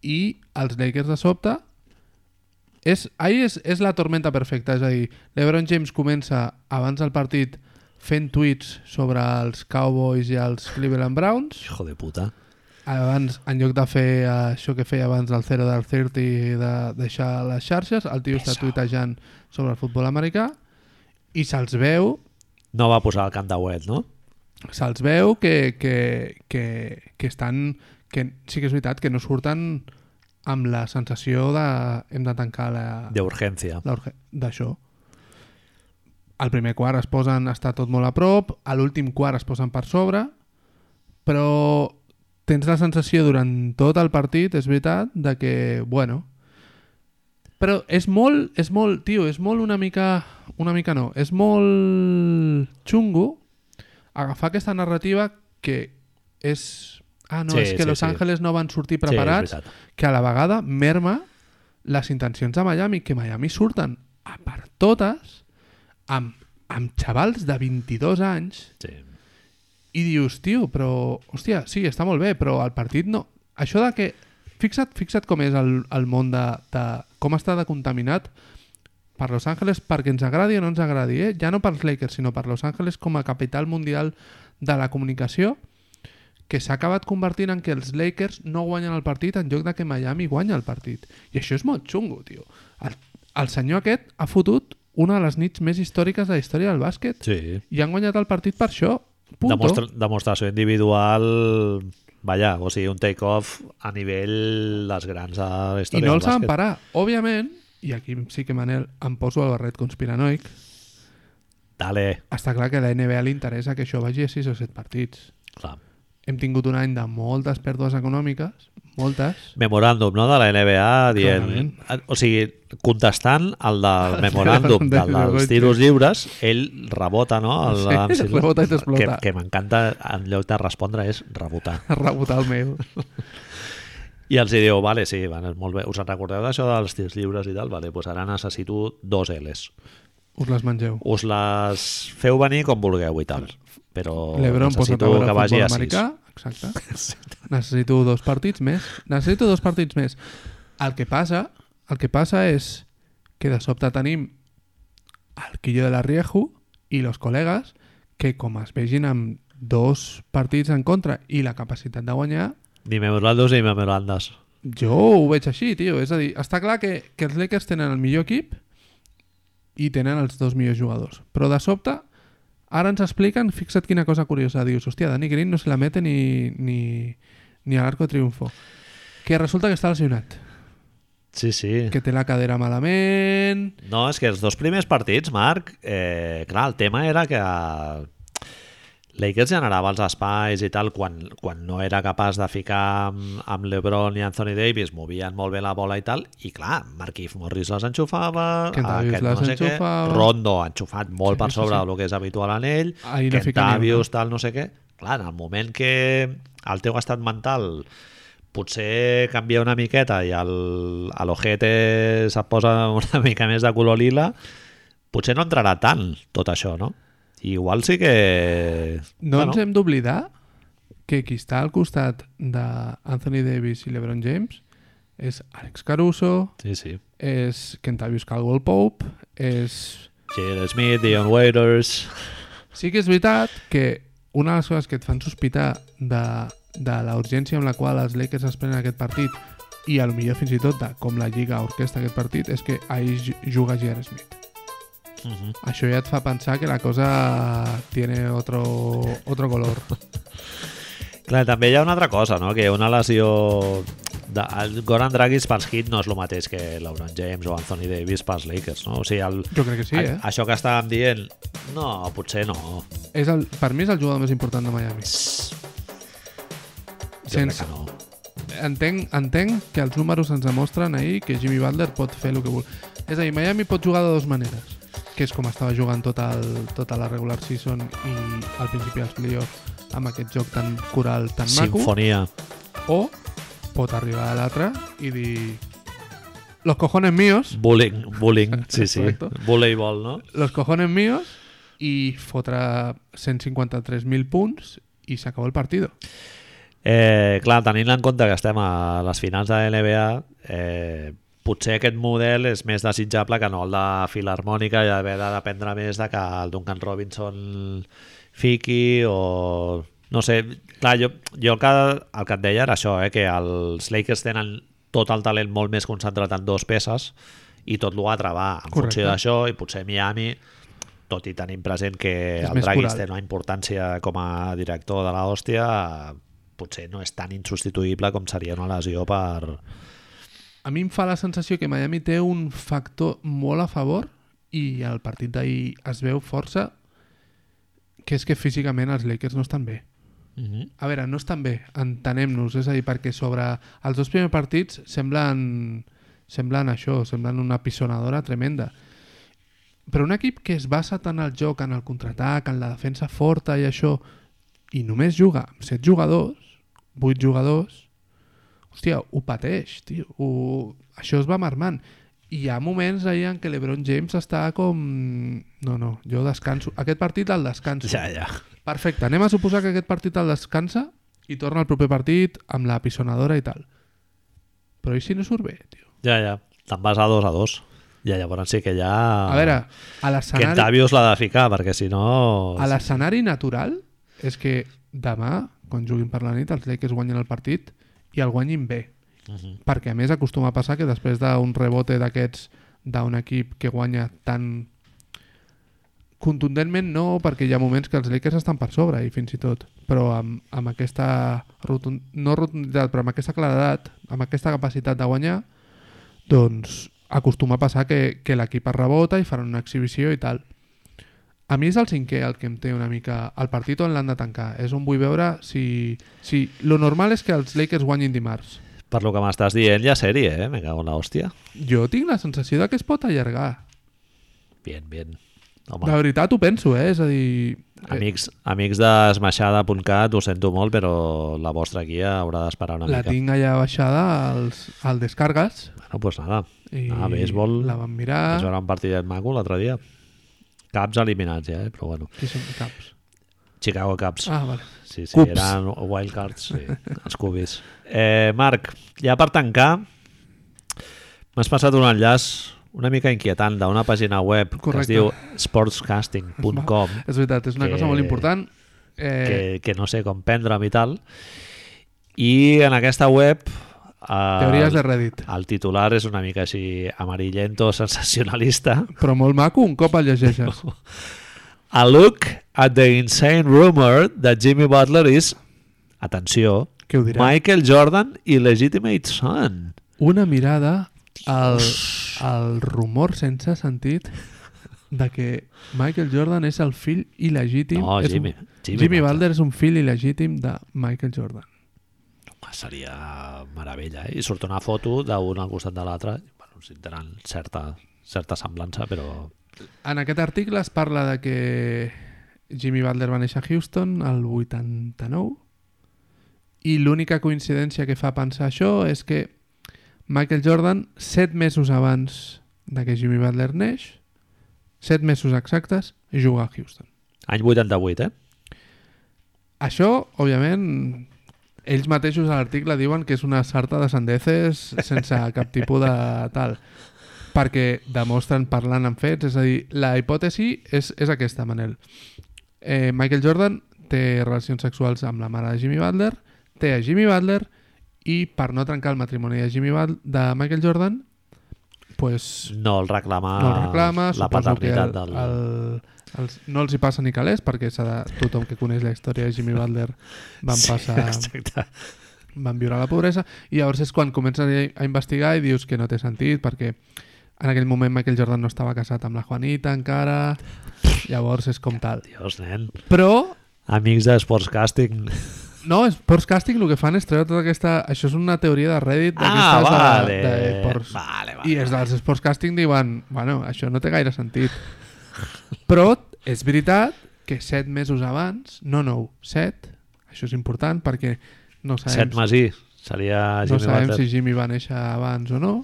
S2: i els Lakers de sobte és, ahir és, és la tormenta perfecta, és a dir, l'Ebron James comença abans del partit fent tuits sobre els Cowboys i els Cleveland Browns
S1: Hijo de puta.
S2: abans, en lloc de fer eh, això que feia abans del 0 del 30 i de deixar les xarxes, el tio està tuitejant sobre el futbol americà i se'ls veu
S1: No va posar el cantauet, no?
S2: se'ls veu que, que, que, que estan... Que sí que és veritat que no surten amb la sensació de hem de tancar la...
S1: d'urgència.
S2: la urge- d'això. Al primer quart es posen està tot molt a prop, a l'últim quart es posen per sobre, però tens la sensació durant tot el partit, és veritat, de que, bueno... Però és molt, és molt, tio, és molt una mica... Una mica no, és molt xungo agafar aquesta narrativa que és... Ah, no,
S1: Sí,
S2: és que
S1: sí,
S2: Los
S1: sí.
S2: Angeles no van sortir
S1: és
S2: preparats
S1: veritat.
S2: que a la vegada merma les intencions de Miami, que Miami surten a per totes amb, amb xavals de 22 anys
S1: Sí.
S2: i dius, tio, però... Hòstia, sí, està molt bé, però el partit no... Això de que... Fixa't, fixa't com és el, el món de, de... Com està de contaminat per Los Angeles, perquè ens agradi o no ens agradi, eh? Ja no pels Lakers, sinó per Los Angeles com a capital mundial de la comunicació, que s'ha acabat convertint en que els Lakers no guanyen el partit en lloc de que Miami guanya el partit. I això és molt xungo, tio. El, el senyor aquest ha fotut una de les nits més històriques de la història del bàsquet
S1: sí.
S2: i han guanyat el partit per això. Punto.
S1: Demostra, demostració individual... Vaja, o sigui, un take-off a nivell dels grans de la
S2: I
S1: història
S2: no
S1: del
S2: els van
S1: bàsquet.
S2: parar. Òbviament, i aquí sí que Manel em poso el barret conspiranoic,
S1: Dale.
S2: està clar que a la NBA li interessa que això vagi a 6 o 7 partits.
S1: Clar.
S2: Hem tingut un any de moltes pèrdues econòmiques, moltes,
S1: memoràndum no? de la NBA dient, Ah, o sigui, contestant el
S2: [laughs]
S1: del memoràndum
S2: del
S1: del, dels
S2: Goethe.
S1: tiros lliures ell rebota no? El,
S2: Sí, [laughs] rebota i
S1: que,
S2: t'explota.
S1: que m'encanta en lloc de respondre és rebotar
S2: a rebotar el mail.
S1: i els hi diu, vale, sí, vale, molt bé us en recordeu d'això dels tirs lliures i tal? Vale, doncs ara necessito dos L's
S2: Us les mengeu.
S1: us les feu venir com vulgueu i tal però
S2: L'Ebron posa a
S1: necessito
S2: veure
S1: que vagi
S2: futbol
S1: a 6
S2: americà, exacte. [laughs] Necessito dos partits més. Necessito dos partits més. El que passa, el que passa és que de sobte tenim el Quillo de la Riejo i los col·legues que com es vegin amb dos partits en contra i la capacitat de guanyar,
S1: ni memorandos ni memorandes
S2: jo ho veig així, tio. És a dir, està clar que, que els Lakers tenen el millor equip i tenen els dos millors jugadors. Però de sobte, ara ens expliquen, fixa't quina cosa curiosa, dius, hòstia, Danny Green no se la mete ni, ni, ni a l'arco triunfo. Que resulta que està lesionat,
S1: sí, sí
S2: que té la cadera malament...
S1: No, és que els dos primers partits, Marc, eh, clar, el tema era que Lakers generava els espais i tal quan, quan no era capaç de ficar amb, amb LeBron i Anthony Davis movien molt bé la bola i tal i clar, Marquif Morris les enxufava
S2: Kentavious
S1: aquest
S2: les
S1: no sé què,
S2: enxufava.
S1: Rondo enxufat molt
S2: Sí,
S1: per
S2: sí,
S1: sobre
S2: sí.
S1: del que és habitual en ell
S2: Ahir no fica ni
S1: Kentavius, tal, no sé què clar, en el moment que el teu estat mental potser canvia una miqueta i el- a l'ojete se posa [laughs] una mica més de color lila, potser no entrarà tant tot això, no? I igual sí que...
S2: No bueno.
S1: bueno,
S2: ens hem d'oblidar que qui està al costat d'Anthony Davis i LeBron James és Alex Caruso,
S1: Sí, sí.
S2: és Kentavious Caldwell Pope, és...
S1: J.L. Smith, Dion Waiters...
S2: Sí que és veritat que una de les coses que et fan sospitar de, de la urgència amb la qual els Lakers es prenen aquest partit i a lo millor fins i tot de com la Lliga orquesta aquest partit és que ahir ju- juga J.R. Smith.
S1: Uh -huh.
S2: Això ja et fa pensar que la cosa tiene otro, otro color.
S1: Clar, també hi ha una altra cosa, no? Que una lesió... De, el Goran Dragic pels Heat no és el mateix que LeBron James o Anthony Davis pels Lakers, no? O sigui, el,
S2: Jo crec que sí, eh?
S1: a, això que estàvem dient, no, potser no.
S2: És el, per mi és el jugador més important de Miami.
S1: Jo crec
S2: Sense-
S1: que no.
S2: entenc, entenc que els números ens demostren ahir que Jimmy Butler pot fer el que vol. És a dir, Miami pot jugar de dues maneres, que és com estava jugant tot el, tota la regular season i al principi els playoffs amb aquest joc tan coral, tan
S1: Sinfonia.
S2: maco, o pot arribar a l'altre i dir los cojones míos,
S1: Bullying,
S2: [laughs]
S1: bullying, sí, sí.
S2: Correcto.
S1: Voleibol, no?
S2: los cojones míos i fotre 153.000 punts i s'acabó el partido.
S1: Eh, clar, tenint en compte que estem a les finals de NBA, eh, potser aquest model és més desitjable que no el de Filarmònica i haver de dependre més de que el Duncan Robinson fiqui o... No sé, clar, jo, jo el, que, el que et deia era això, eh, que els Lakers tenen tot el talent molt més concentrat en dues peces i tot l'altre va en
S2: Correcte.
S1: funció d'això i potser Miami tot i tenint present que
S2: És
S1: el
S2: més
S1: Draguis
S2: coral.
S1: té una importància com a director de la hòstia, potser no és tan insubstituïble com seria una lesió per...
S2: A mi em fa la sensació que Miami té un factor molt a favor i el partit d'ahir es veu força que és que físicament els Lakers no estan bé.
S1: Mm -hmm.
S2: A veure, no estan bé, entenem-nos, és a dir, perquè sobre els dos primers partits semblen, semblen això, semblen una pisonadora tremenda. Però un equip que es basa tant al joc, en el contraatac, en la defensa forta i això, i només juga amb set jugadors, vuit jugadors, hòstia, ho pateix, tio. Ho... Això es va marmant. I hi ha moments ahir en què l'Ebron James està com... No, no, jo descanso. Aquest partit el descanso.
S1: Ja, ja.
S2: Perfecte, anem a suposar que aquest partit el descansa i torna al proper partit amb la pisonadora i tal. Però i si no surt bé, tio?
S1: Ja, ja. Te'n vas a dos a dos. Ja, llavors sí que ja...
S2: A veure,
S1: Ah.
S2: a
S1: Que en
S2: l'escenari
S1: Tavius l'ha de ficar, perquè si no...
S2: a l'escenari natural és que demà, quan juguin per la nit, els Lakers guanyen el partit i el guanyin bé.
S1: Mhm.
S2: Perquè a més acostuma a passar que després d'un rebote d'aquests d'un equip que guanya tan contundentment no, perquè hi ha moments que els Lakers estan per sobre i fins i tot, però amb, amb aquesta rotund... no rotunditat, però amb aquesta claredat, amb aquesta capacitat de guanyar, doncs acostuma a passar que, que l'equip es rebota i faran una exhibició i tal. A mi és el cinquè el que em té una mica el partit on l'han de tancar. És on vull veure si... si... Lo normal és que els Lakers guanyin dimarts.
S1: Per lo que m'estàs dient, ja sèrie, eh? Me cago en la hòstia.
S2: Jo tinc la sensació de que es pot allargar.
S1: Bien, bien.
S2: De
S1: Home,
S2: veritat ho penso, eh? És a dir... eh,
S1: amics, amics d'esmaixada.cat, ho sento molt, però la vostra guia haurà d'esperar una
S2: la
S1: mica.
S2: tinc allà baixada als, al Descargas
S1: Bueno, pues nada.
S2: i
S1: Ah, béisbol.
S2: la van
S1: Vaig
S2: mirar
S1: veure un partidet maco l'altre dia. Caps eliminats, ja, eh? però bueno.
S2: qui són caps
S1: Chicago Caps.
S2: ah, vale.
S1: sí, sí,
S2: Cubs.
S1: eren wildcards,
S2: [laughs]
S1: sí, els cubis. Eh, Marc, ja per tancar, m'has passat un enllaç una mica inquietant d'una pàgina web
S2: Correcte.
S1: que es diu sportscasting.com
S2: és veritat, és una
S1: Que-
S2: cosa molt important eh,
S1: que, que no sé com prendre'm i tal. I en aquesta web... Eh,
S2: teories de Reddit
S1: el titular és una mica així amarillento, sensacionalista.
S2: però molt maco un cop el
S1: [laughs]
S2: llegeixes
S1: A look at the insane rumor that Jimmy Butler is, atenció,
S2: Què ho dirà?
S1: Michael Jordan i Legitimate Son.
S2: una mirada al, al rumor sense sentit de que Michael Jordan és el fill il·legítim
S1: No,
S2: és
S1: Jimmy.
S2: un,
S1: Jimmy
S2: Jimmy, Jimmy
S1: Butler.
S2: Balder és un fill il·legítim de Michael Jordan
S1: Home, seria meravella, eh? I surt una foto d'un al costat de l'altre. Bueno, sí, tenen certa, certa semblança, però...
S2: En aquest article es parla de que Jimmy Butler va néixer a Houston el 89 i l'única coincidència que fa pensar això és que Michael Jordan, set mesos abans de que Jimmy Butler neix, set mesos exactes, juga a Houston.
S1: Any 88, eh?
S2: Això, òbviament, ells mateixos a l'article diuen que és una sarta de sandeces sense cap tipus de tal perquè demostren parlant amb fets, és a dir, la hipòtesi és, és aquesta, Manel. Eh, Michael Jordan té relacions sexuals amb la mare de Jimmy Butler, té a Jimmy Butler i per no trencar el matrimoni de, Jimmy Butler, de Michael Jordan pues,
S1: No el reclama,
S2: no el reclama,
S1: Ah, la
S2: suposo que
S1: paternitat
S2: el,
S1: del...
S2: el, els, no els hi passa ni calés perquè s'ha de, tothom que coneix la història de
S1: [laughs]
S2: Jimmy Butler van passar
S1: Sí, exacte.
S2: van viure la pobresa i llavors és quan comences a a investigar i dius que no té sentit perquè en aquell moment Michael Jordan no estava casat amb la Juanita encara llavors és com tal
S1: Dios, nen.
S2: però
S1: Amics de Sportscasting.
S2: no, és Sports Casting el que fan és treure tota aquesta... Això és una teoria de Reddit
S1: Ah,
S2: d'aquestes
S1: vale.
S2: de, de Sports.
S1: Vale, vale.
S2: I els dels Sports Casting diuen bueno, això no té gaire sentit. Però és veritat que set mesos abans, no nou, set, això és important perquè no sabem,
S1: Set Masí. Seria
S2: no
S1: Jimmy
S2: sabem
S1: Butler.
S2: si Jimmy va néixer abans o no.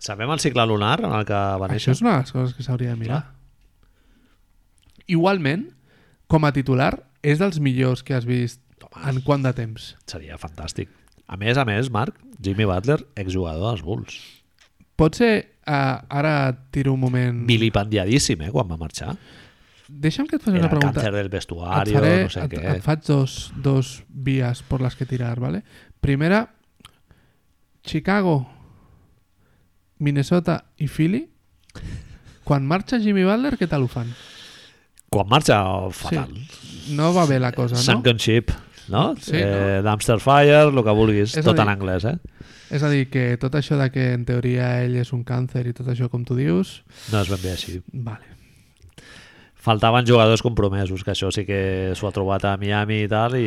S1: Sabem el cicle lunar en el que va néixer?
S2: Això és una de les coses que s'hauria de mirar. Igualment, com a titular, és dels millors que has vist en quant de temps.
S1: Seria fantàstic. A més, a més, Marc, Jimmy Butler, exjugador dels Bulls.
S2: Pot ser... Uh, ara tiro un moment...
S1: Vilipendiadíssim, eh, quan va marxar.
S2: Deixa'm que et faci
S1: Era
S2: una
S1: el
S2: pregunta.
S1: càncer del
S2: et,
S1: vestuari,
S2: faré,
S1: no sé
S2: et,
S1: què.
S2: et faig dos, dos vies per les que tirar, ¿vale? Primera, Chicago, Minnesota i Philly. Quan marxa Jimmy Butler, què tal ho fan?
S1: quan marxa oh, fatal. Sí.
S2: No va bé la cosa, doncs, no?
S1: Sunken Ship, no?
S2: Sí,
S1: eh, Dumpster Fire, el que vulguis,
S2: És a
S1: tot
S2: dir-
S1: en anglès, eh?
S2: És a dir, que tot això de que en teoria ell és un càncer i tot això com tu dius...
S1: No és ben bé així.
S2: Vale.
S1: Faltaven jugadors compromesos, que això sí que s'ho ha trobat a Miami i tal, i...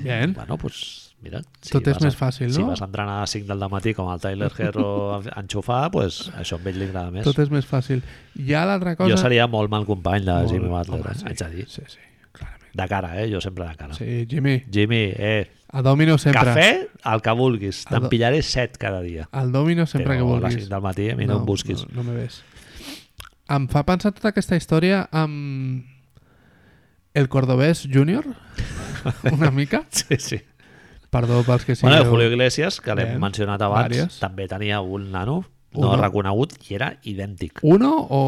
S2: Bien.
S1: Bueno, pues, mira... Si
S2: Tot és
S1: vas a-
S2: més fàcil,
S1: Si
S2: no?
S1: vas a entrenar a 5 del matí com el Tyler Herro
S2: [laughs]
S1: enxufar, pues, això a ell li agrada més.
S2: Tot és més fàcil. Hi ha l'altra cosa...
S1: Jo seria molt mal company de
S2: Molt-
S1: Jimmy Butler,
S2: home,
S1: eh? haig de dir.
S2: Sí, sí, clarament.
S1: De cara, eh? Jo sempre de cara.
S2: Sí, Jimmy,
S1: Jimmy, eh,
S2: a Domino sempre.
S1: cafè, el que vulguis.
S2: El
S1: Te'n
S2: do-
S1: pillaré set cada dia.
S2: Al Domino
S1: Però
S2: sempre que
S1: A les
S2: vulguis.
S1: 5 del matí a mi no, no em busquis.
S2: No, no me ves. Em fa pensar tota aquesta història amb el cordobès
S1: [laughs]
S2: júnior, una mica.
S1: [laughs] Sí, sí.
S2: Perdó pels que
S1: Sí, bueno,
S2: sigueu-
S1: Julio Iglesias, que l'hem
S2: Bé,
S1: mencionat abans,
S2: vàries.
S1: també tenia un nano no
S2: Uno.
S1: reconegut i era idèntic.
S2: Uno o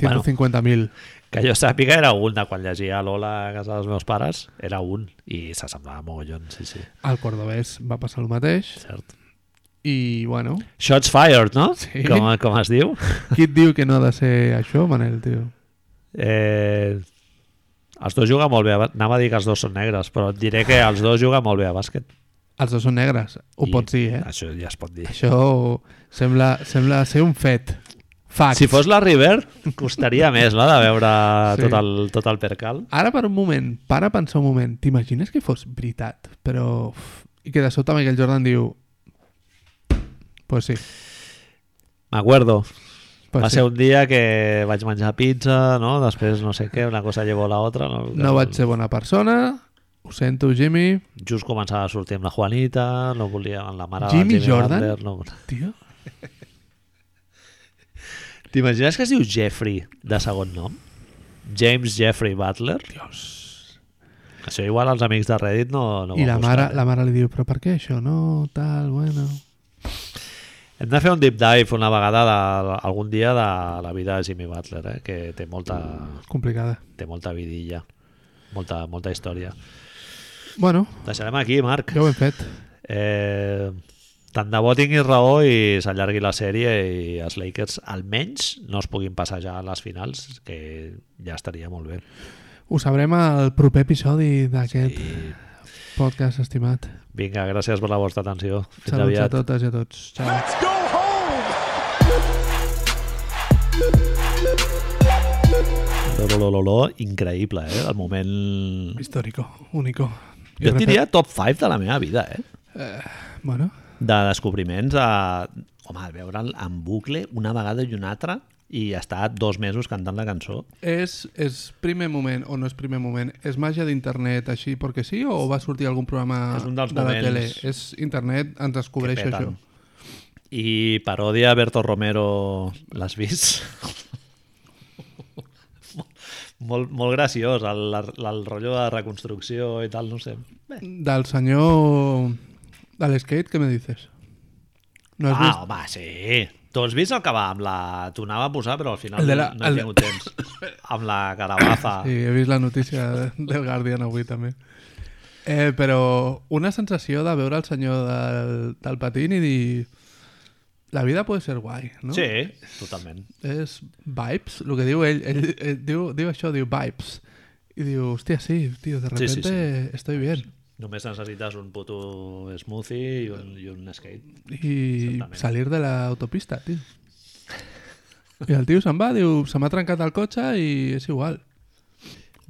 S2: 150.000?
S1: Que jo sàpiga era un de quan llegia Lola a casa dels meus pares, era un i s'assemblava mogollon, sí, sí,
S2: Al cordobès va passar el mateix
S1: cert.
S2: i, bueno,
S1: Shots fired, no?
S2: Sí.
S1: Com, com es diu?
S2: qui et diu que no ha de ser això, Manel, tio?
S1: Eh, els dos juguen molt bé. a ba- Anava a dir que els dos són negres, però et diré que els dos juguen molt bé a bàsquet.
S2: Els dos són negres, ho
S1: I
S2: pots dir, eh?
S1: Això ja es pot dir.
S2: Això sembla, sembla ser un fet. Facts.
S1: Si fos la River, costaria més no, de veure
S2: Sí.
S1: sí. tot, el, tot el percal.
S2: Ara per un moment, para a pensar un moment, t'imagines que fos veritat, però... uf, I que de sobte Michael Jordan diu... Pues sí.
S1: M'acuerdo.
S2: Pues
S1: Va
S2: sí.
S1: ser un dia que vaig menjar pizza, no? després no sé què, una cosa llevó la otra. No,
S2: No vaig ser bona persona, ho sento, Jimmy.
S1: Just començava a sortir amb la Juanita, no volia amb la mare
S2: Jimmy
S1: de Jimmy
S2: Jordan?
S1: Butler, no.
S2: Tio,
S1: T'imagines que es diu Jeffrey de segon nom? James Jeffrey Butler? Dios. Això igual els amics de Reddit no, no
S2: I
S1: ho
S2: la
S1: han
S2: mare,
S1: buscat, eh?
S2: la mare li diu, però per què això? No, tal, bueno...
S1: Hem de fer un deep dive una vegada de, algun dia de la vida de Jimmy Butler, eh? que té molta,
S2: Complicada.
S1: té molta vidilla, molta, molta història.
S2: Bueno,
S1: Deixarem aquí, Marc.
S2: ja ho hem fet.
S1: Eh, tant de bo tinguis raó i s'allargui la sèrie i els Lakers almenys no es puguin passejar a les finals, que ja estaria molt bé.
S2: Ho sabrem al proper episodi d'aquest
S1: I
S2: podcast estimat.
S1: vinga, gràcies per la vostra atenció. Fins
S2: Saluts a
S1: aviat.
S2: totes i a tots. Ciao.
S4: Let's go home!
S1: Lolololó, increïble, eh? El moment...
S2: Històrico, único.
S1: Jo et diria top 5 de la meva vida, eh?
S2: Bueno,
S1: De descobriments a... Home, veure'l en bucle una vegada i una altra i estar dos mesos cantant la cançó.
S2: És, és primer moment, o no és primer moment, és màgia d'internet així perquè sí, o va sortir algun programa
S1: És un dels
S2: de la
S1: moments
S2: tele? És internet, ens descobreix
S1: que
S2: això.
S1: peten. I paròdia a Berto Romero, l'has vist? [laughs] molt, molt graciós, el, el, el rotllo de reconstrucció i tal, no sé. Bé.
S2: Del senyor... de l'esquate, què me dices? No has
S1: ah,
S2: vist?
S1: home, sí. Tu has vist el que va amb la... T'ho anava a posar, però al final
S2: El de
S1: la...
S2: la-
S1: no he
S2: el-
S1: tingut temps. amb la carabaza.
S2: [coughs] Sí, he vist la notícia de- del Guardian avui també. Eh, però una sensació de veure el senyor del, del patín i dir... La vida pot ser guai, no?
S1: sí, totalment.
S2: és vibes, el que diu ell, ell, ell diu, diu això, diu vibes. I diu, hòstia, sí, tio, de
S1: Sí, sí,
S2: repente estoy bien.
S1: Només necessites un puto smoothie i un, i un skate.
S2: I
S1: Exactament.
S2: salir de l'autopista, tio. I el tio se'n va, diu, se m'ha trencat el cotxe i és igual.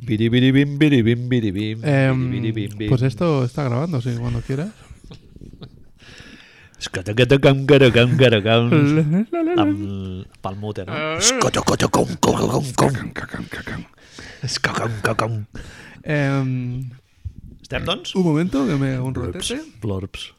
S1: Biribiribim, biribim, biribim,
S2: Eh,
S1: biribiribim,
S2: pues esto está grabando, sí, cuando quieras.
S1: Escatacatacam, caracam,
S2: [laughs]
S1: caracam.
S2: Amb
S1: Amb, pel mute,
S2: Ah.
S1: no?
S2: Em,
S1: Estem, doncs?
S2: Em,
S1: doncs?
S2: un momento, que me hago un rotete.
S1: Blorps.